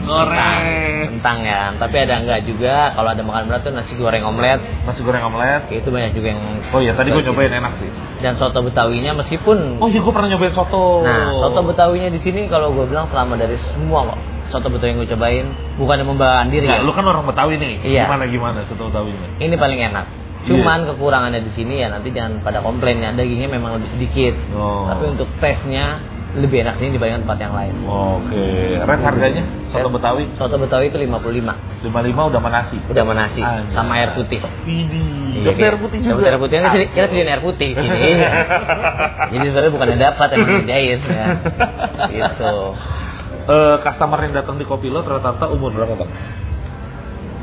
Tentang ya, tapi ada enggak juga kalau ada makanan berat tuh nasi goreng omelet. Nasi goreng omelet. Itu banyak juga yang Oh iya, tadi gue nyobain enak sih. dan soto betawinya meskipun Oh iya, gue pernah nyobain soto. Nah, soto betawinya di sini kalau gue bilang selama dari semua kok soto betawi yang gue cobain bukan yang membanggakan diri Nah, ya. lu kan orang Betawi nih. Iya. Gimana gimana soto Betawinya? Ini paling enak. Iya. Cuman kekurangannya di sini ya nanti jangan pada komplain ya dagingnya memang lebih sedikit. Oh. Tapi untuk tesnya lebih enak sini dibandingkan tempat yang lain. Oke, red harganya soto Red. Betawi Soto betawi itu 55. 55 udah sama nasi. Udah sama nasi Anjay. sama air putih. Widih, Iya, dapet iya. air putih juga. Ah, Dapet iya. air putih, kan kita- kita sediain air putih di sini. Jadi sebenarnya bukan yang dapat emang didain ya. Gitu. Eh, customer yang datang di Kopilo rata-rata umur berapa, Bang?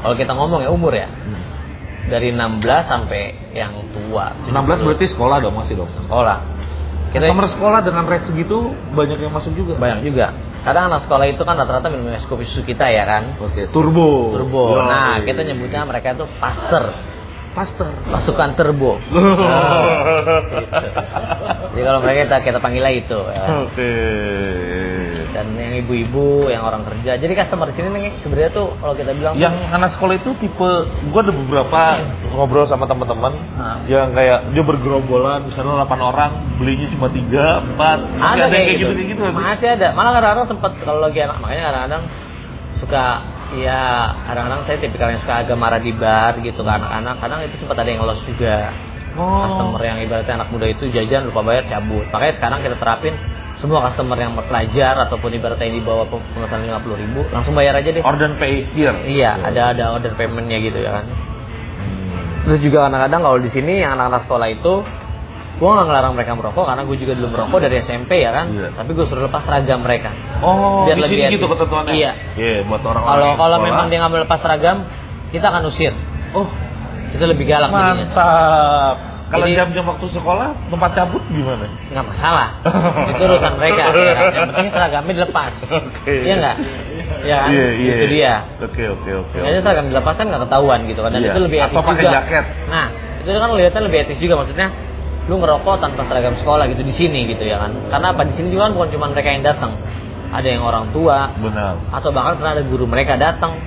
Kalau kita ngomong ya umur ya Hmm. dari 16 sampai yang tua. 16 berarti sekolah dong masih dong. sekolah. Kita Customer sekolah dengan rate segitu banyak yang masuk juga. banyak juga. Kadang anak sekolah itu kan rata-rata minum es kopi susu kita ya kan. Oke, turbo. Turbo. Yoi. Nah, kita iya. nyebutnya mereka itu faster. faster. Pasukan turbo. Nah, gitu. Jadi kalau mereka kita, kita panggilnya itu. ya. Oke. Dan yang ibu-ibu, yang orang kerja. Jadi customer di sini nih sebenarnya tuh kalau kita bilang Yang anak sekolah itu tipe, gua ada beberapa ngobrol sama teman-teman Iya. Nah. yang kayak dia bergerombolan, misalnya 8 orang, belinya cuma 3, 4. ada, kayak gitu. kayak gitu. nggak sih? Masih ada. Malah kadang-kadang sempat kalau lagi anak makanya kadang-kadang suka ya kadang-kadang saya tipikal yang suka agak marah di bar gitu ke anak-anak. Kadang itu sempat ada yang lolos juga. Oh. Customer ya. yang ibaratnya anak muda itu jajan lupa bayar cabut. Makanya sekarang kita terapin semua customer yang pelajar ataupun ibaratnya yang di bawah pem- pemesanan 50 ribu langsung bayar aja deh. Oh. Order pay here. Hmm. Iya, ada ada order paymentnya gitu ya kan. Terus juga kadang-kadang kalau di sini yang anak-anak sekolah itu gue nggak ngelarang mereka merokok karena gue juga dulu merokok dari SMP ya kan. Iya. Tapi gue suruh lepas seragam mereka. Oh, Biar di lebih sini gitu etis. ketentuannya. Iya. Iya, buat orang-orang. Kalau yang kalau sekolah. memang dia nggak melepas seragam, kita akan usir. Oh, Kita lebih galak jadinya. mantap. Kalau Jadi- jam-jam waktu sekolah, tempat cabut gimana? Nggak masalah. Itu urusan mereka. ya kan? Yang penting seragamnya dilepas. Oke. Iya nggak? Iya kan? Iya, iya. Itu dia. Oke, oke, oke. Jadi seragam dilepas kan nggak ketahuan gitu kan. Dan Iya. itu lebih etis Atau pakai juga. jaket. Nah, itu kan lihatnya lebih etis juga maksudnya lu ngerokok tanpa seragam sekolah gitu di sini gitu ya kan. Karena apa di sini juga kan bukan cuma mereka yang datang. Ada yang orang tua Benar. atau bahkan pernah ada guru mereka datang.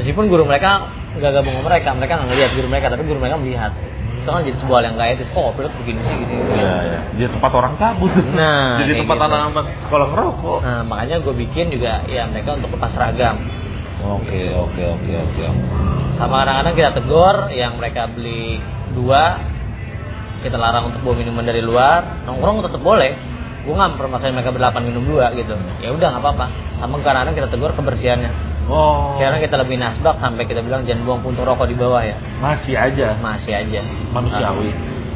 Meskipun guru mereka nggak gabung sama mereka, mereka nggak ngelihat guru mereka, tapi guru mereka melihat. Itu kan jadi sebuah hal yang nggak etis. Oh, pilot begini sih gitu. Iya, iya. Jadi tempat orang cabut. Nah, Jadi kayak tempat gitu. anak-anak sekolah ngerokok. Nah, makanya gue bikin juga ya mereka untuk lepas seragam. iya. Oke, oke, oke, oke. Sama kadang-kadang kita tegur yang mereka beli dua, kita larang untuk bawa minuman dari luar. Nongkrong tetap boleh. Gue nggak permasalahan mereka berdelapan minum dua gitu. Ya udah nggak apa-apa. Sama kadang-kadang kita tegur kebersihannya. Oh. Karena kita lebih nasbak sampai kita bilang jangan buang puntung rokok di bawah ya. masih aja Masih aja. manusiawi.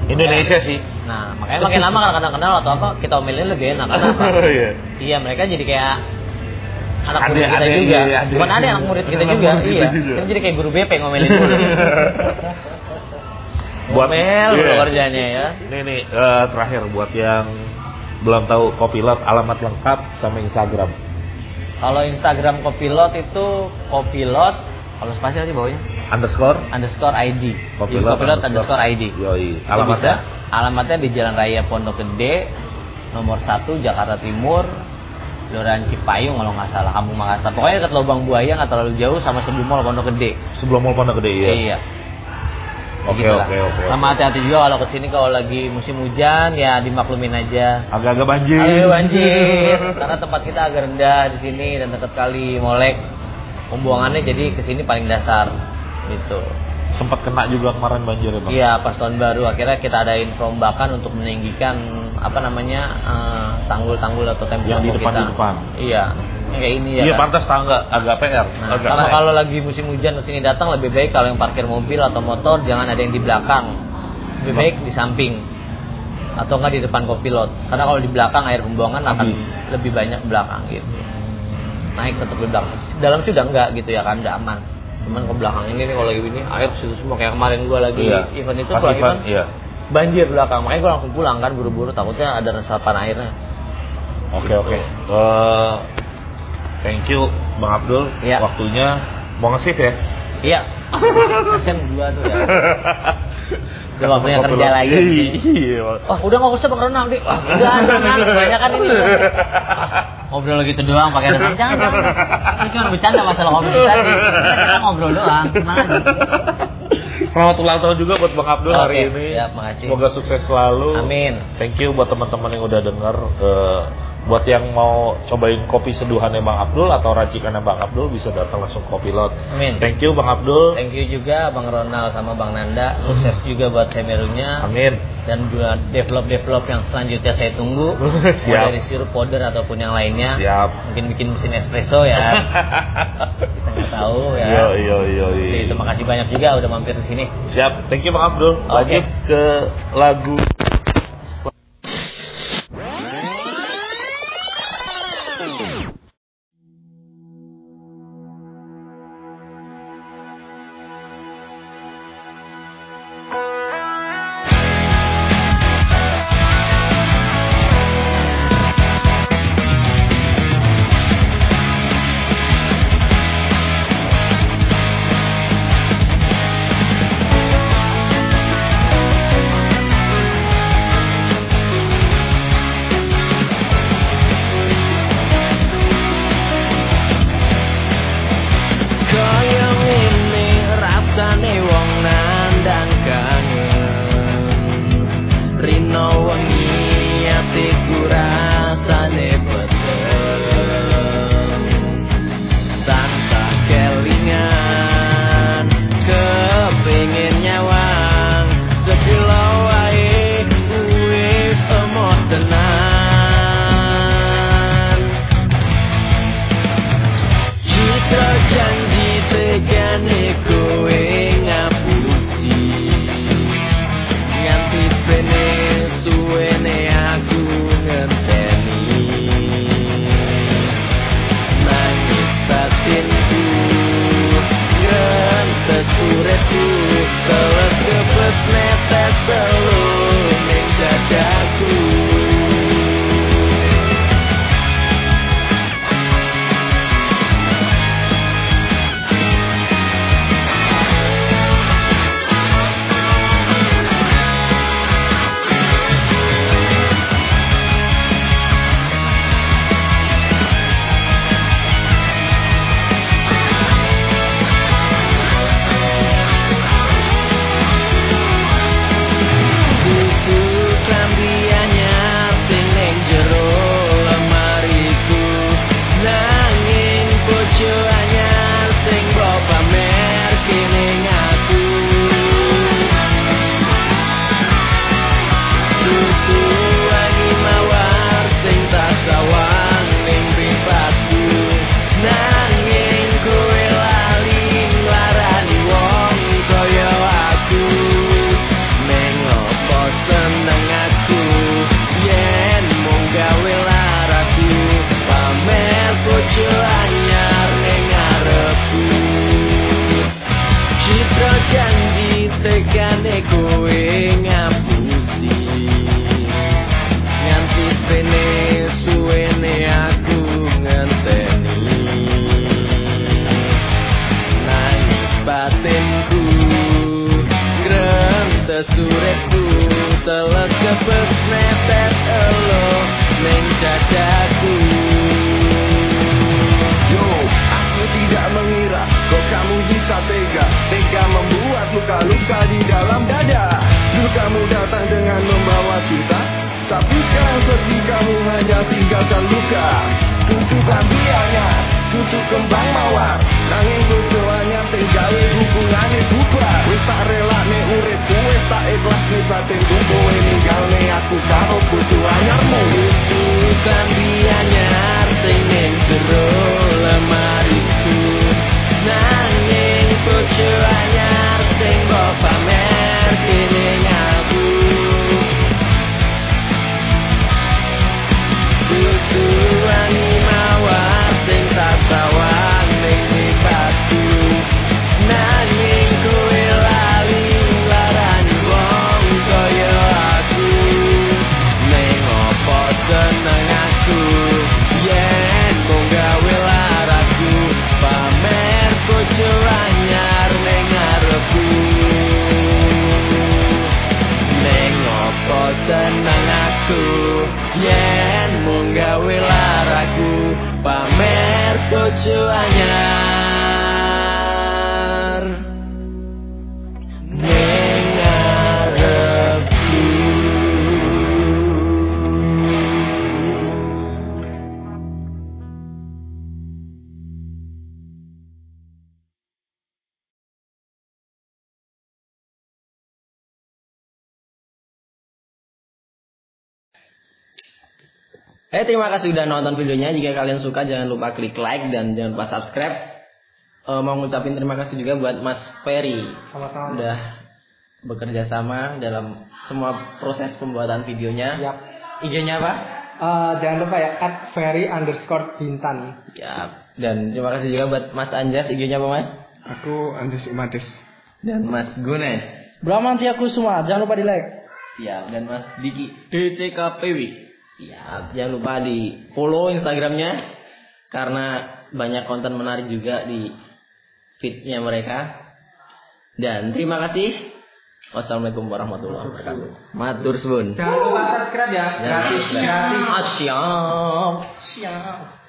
Indonesia sih. Nah, makanya makin lama kadang-kadang kenal atau apa kita omelin lebih enak. Nah, Kenapa? Iya. Iya mereka jadi kayak anak Adek, murid kita adek, juga. iya, adek. Bukan ada anak murid kita Anak juga. murid kita iya. juga. Kita jadi kayak guru BP ngomelin mulu. Buat- Ngomel iya. mulu kerjanya ya. Ini nih eh, terakhir buat yang belum tahu Kopilot alamat lengkap sama Instagram. Kalau Instagram Kopilot itu Kopilot kalau spasi nanti bawahnya Underscore underscore ID. Jadi Kopilot Kopilot underscore. Iya, underscore ID. Yoi. Itu Alamatnya? bisa. Alamatnya di Jalan Raya Pondok Gede nomor 1 Jakarta Timur Loran Cipayung kalau nggak salah kamu Makassar pokoknya dekat Lubang Buaya nggak terlalu jauh sama sebelum Mall Pondok Gede sebelum Mall Pondok Gede ya. Iya. Oke, Gitu lah. oke, oke, oke. Sama hati-hati juga kalau kesini kalau lagi musim hujan ya dimaklumin aja. Agak-agak banjir. Ayo banjir. Karena tempat kita agak rendah di sini dan dekat kali Molek. Pembuangannya jadi kesini paling dasar gitu. Sempat kena juga kemarin banjir ya, Bang. Iya pas tahun baru akhirnya kita adain perombakan untuk meninggikan apa namanya eh, tanggul-tanggul atau tembok Yang di depan- kita. di depan. Iya. Yang kayak ini ya. Iya, kan? pantas tangga agak PR. Nah, agak karena naik. kalau lagi musim hujan kesini datang lebih baik kalau yang parkir mobil atau motor jangan ada yang di belakang. Lebih Kenapa? baik di samping atau enggak di depan kopilot. Karena kalau di belakang air pembuangan akan Habis. lebih banyak ke belakang gitu. Naik tetap ke belakang. Dalam sih udah enggak gitu ya kan, udah aman. Cuman ke belakang ini nih kalau lagi ini air ke situ semua kayak kemarin gua lagi Iya. event itu Pas gua lagi event, kan iya. banjir belakang. Makanya gua langsung pulang kan buru-buru takutnya ada resapan airnya. Oke oke. Gitu. Eh, thank you Bang Abdul. Iya. Waktunya mau nge-shift ya. Iya. Kasian gua tuh ya. Udah nggak punya kerja lagi. Iya. Wah, udah nggak usah bang Ronald deh. Wah, udah, jangan. Banyak kan ini. Ngobrol gitu doang pakai renang. Jangan, jangan. Ini cuma bercanda masalah ngobrol tadi. Kita, kita ngobrol doang. Tenang aja. Selamat ulang tahun juga buat Bang Abdul hari Oke, ini. siap, makasih. Semoga sukses selalu. Amin. Thank you buat teman-teman yang udah denger. Eh, buat yang mau cobain kopi seduhannya Bang Abdul atau racikannya Bang Abdul bisa datang langsung kopi lot. Amin. Thank you Bang Abdul. Thank you juga Bang Ronald sama Bang Nanda. Sukses juga buat Semerunya Amin. dan buat develop-develop yang selanjutnya saya tunggu. Siap. Mulai dari sirup powder ataupun yang lainnya. Siap. Mungkin bikin mesin espresso ya. Kita nggak tahu ya. Yo yo yo. yo. Jadi, terima kasih banyak juga udah mampir di sini. Siap. Thank you Bang Abdul. Lanjut Oke. ke lagu Kaya ngene rasane wong nandang kangen Rino wengi atiku rasane peteng Tansah kelingan kepingin nyawang Sedilo wae urip emot tenan Citra janji tegane kowe ngapusi Nganti pene suwene aku ngenteni Nangis batinku Gentes uretku Teles kebet netes telur Ning dadaku Buku klambi anyar sing ning jero lemariku Nanging bojo anyar sing mbok pamer kining aku Buku wangi mawar sing tak sawang ning pripatku Nanging kowe lali nglarani wong kaya aku Nengok pos seneng aku Yen mung gawe laraku Pamer bojo anyar ning ngarepku Citra janji tegane kowe ngapusi Nganti pene suwene aku ngenteni Nangis batinku Grentes suretku Teles kepes netes elo Neng dadaku Yo, aku tidak mengira kok kamu bisa tega Tega membuat luka-luka di dalam dada Dulu kamu datang dengan membawa cinta Tapi sekarang pergi kamu hanya tinggalkan luka Untuk kambianya, untuk kembang mawar Nangis bocoannya tinggali hubungannya bubar Wis tak rela ne urip, wis tak ikhlas nih batinku Kowe ninggal ne aku karo bocoannya Lucu kambiannya artinin jero lemariku Nanging bojo anyar sing mbok pamer kene aku Lucu wani Bojo anyar Ning ngarepku Eh terima kasih sudah nonton videonya. Jika kalian suka jangan lupa klik like dan jangan lupa subscribe. Eh, mau ngucapin terima kasih juga buat Mas Ferry. Sama-sama. Udah bekerja sama dalam semua proses pembuatan videonya. Yap. IG-nya apa? Iya. Eh, jangan lupa ya at ferry underscore bintan Ya. Dan terima kasih juga buat Mas Anjas, IG-nya apa Mas? Aku Andres Imadis. Dan Mas Gunes. Brahma aku semua jangan lupa di like Ya. Dan Mas Diki. DCKPW. Ya. Jangan lupa di follow Instagramnya karena banyak konten menarik juga di feednya mereka. Dan terima kasih. Wassalamualaikum warahmatullahi wabarakatuh. Matur suwun. jangan lupa subscribe ya Gratis. Gratis. Ah, siap. siap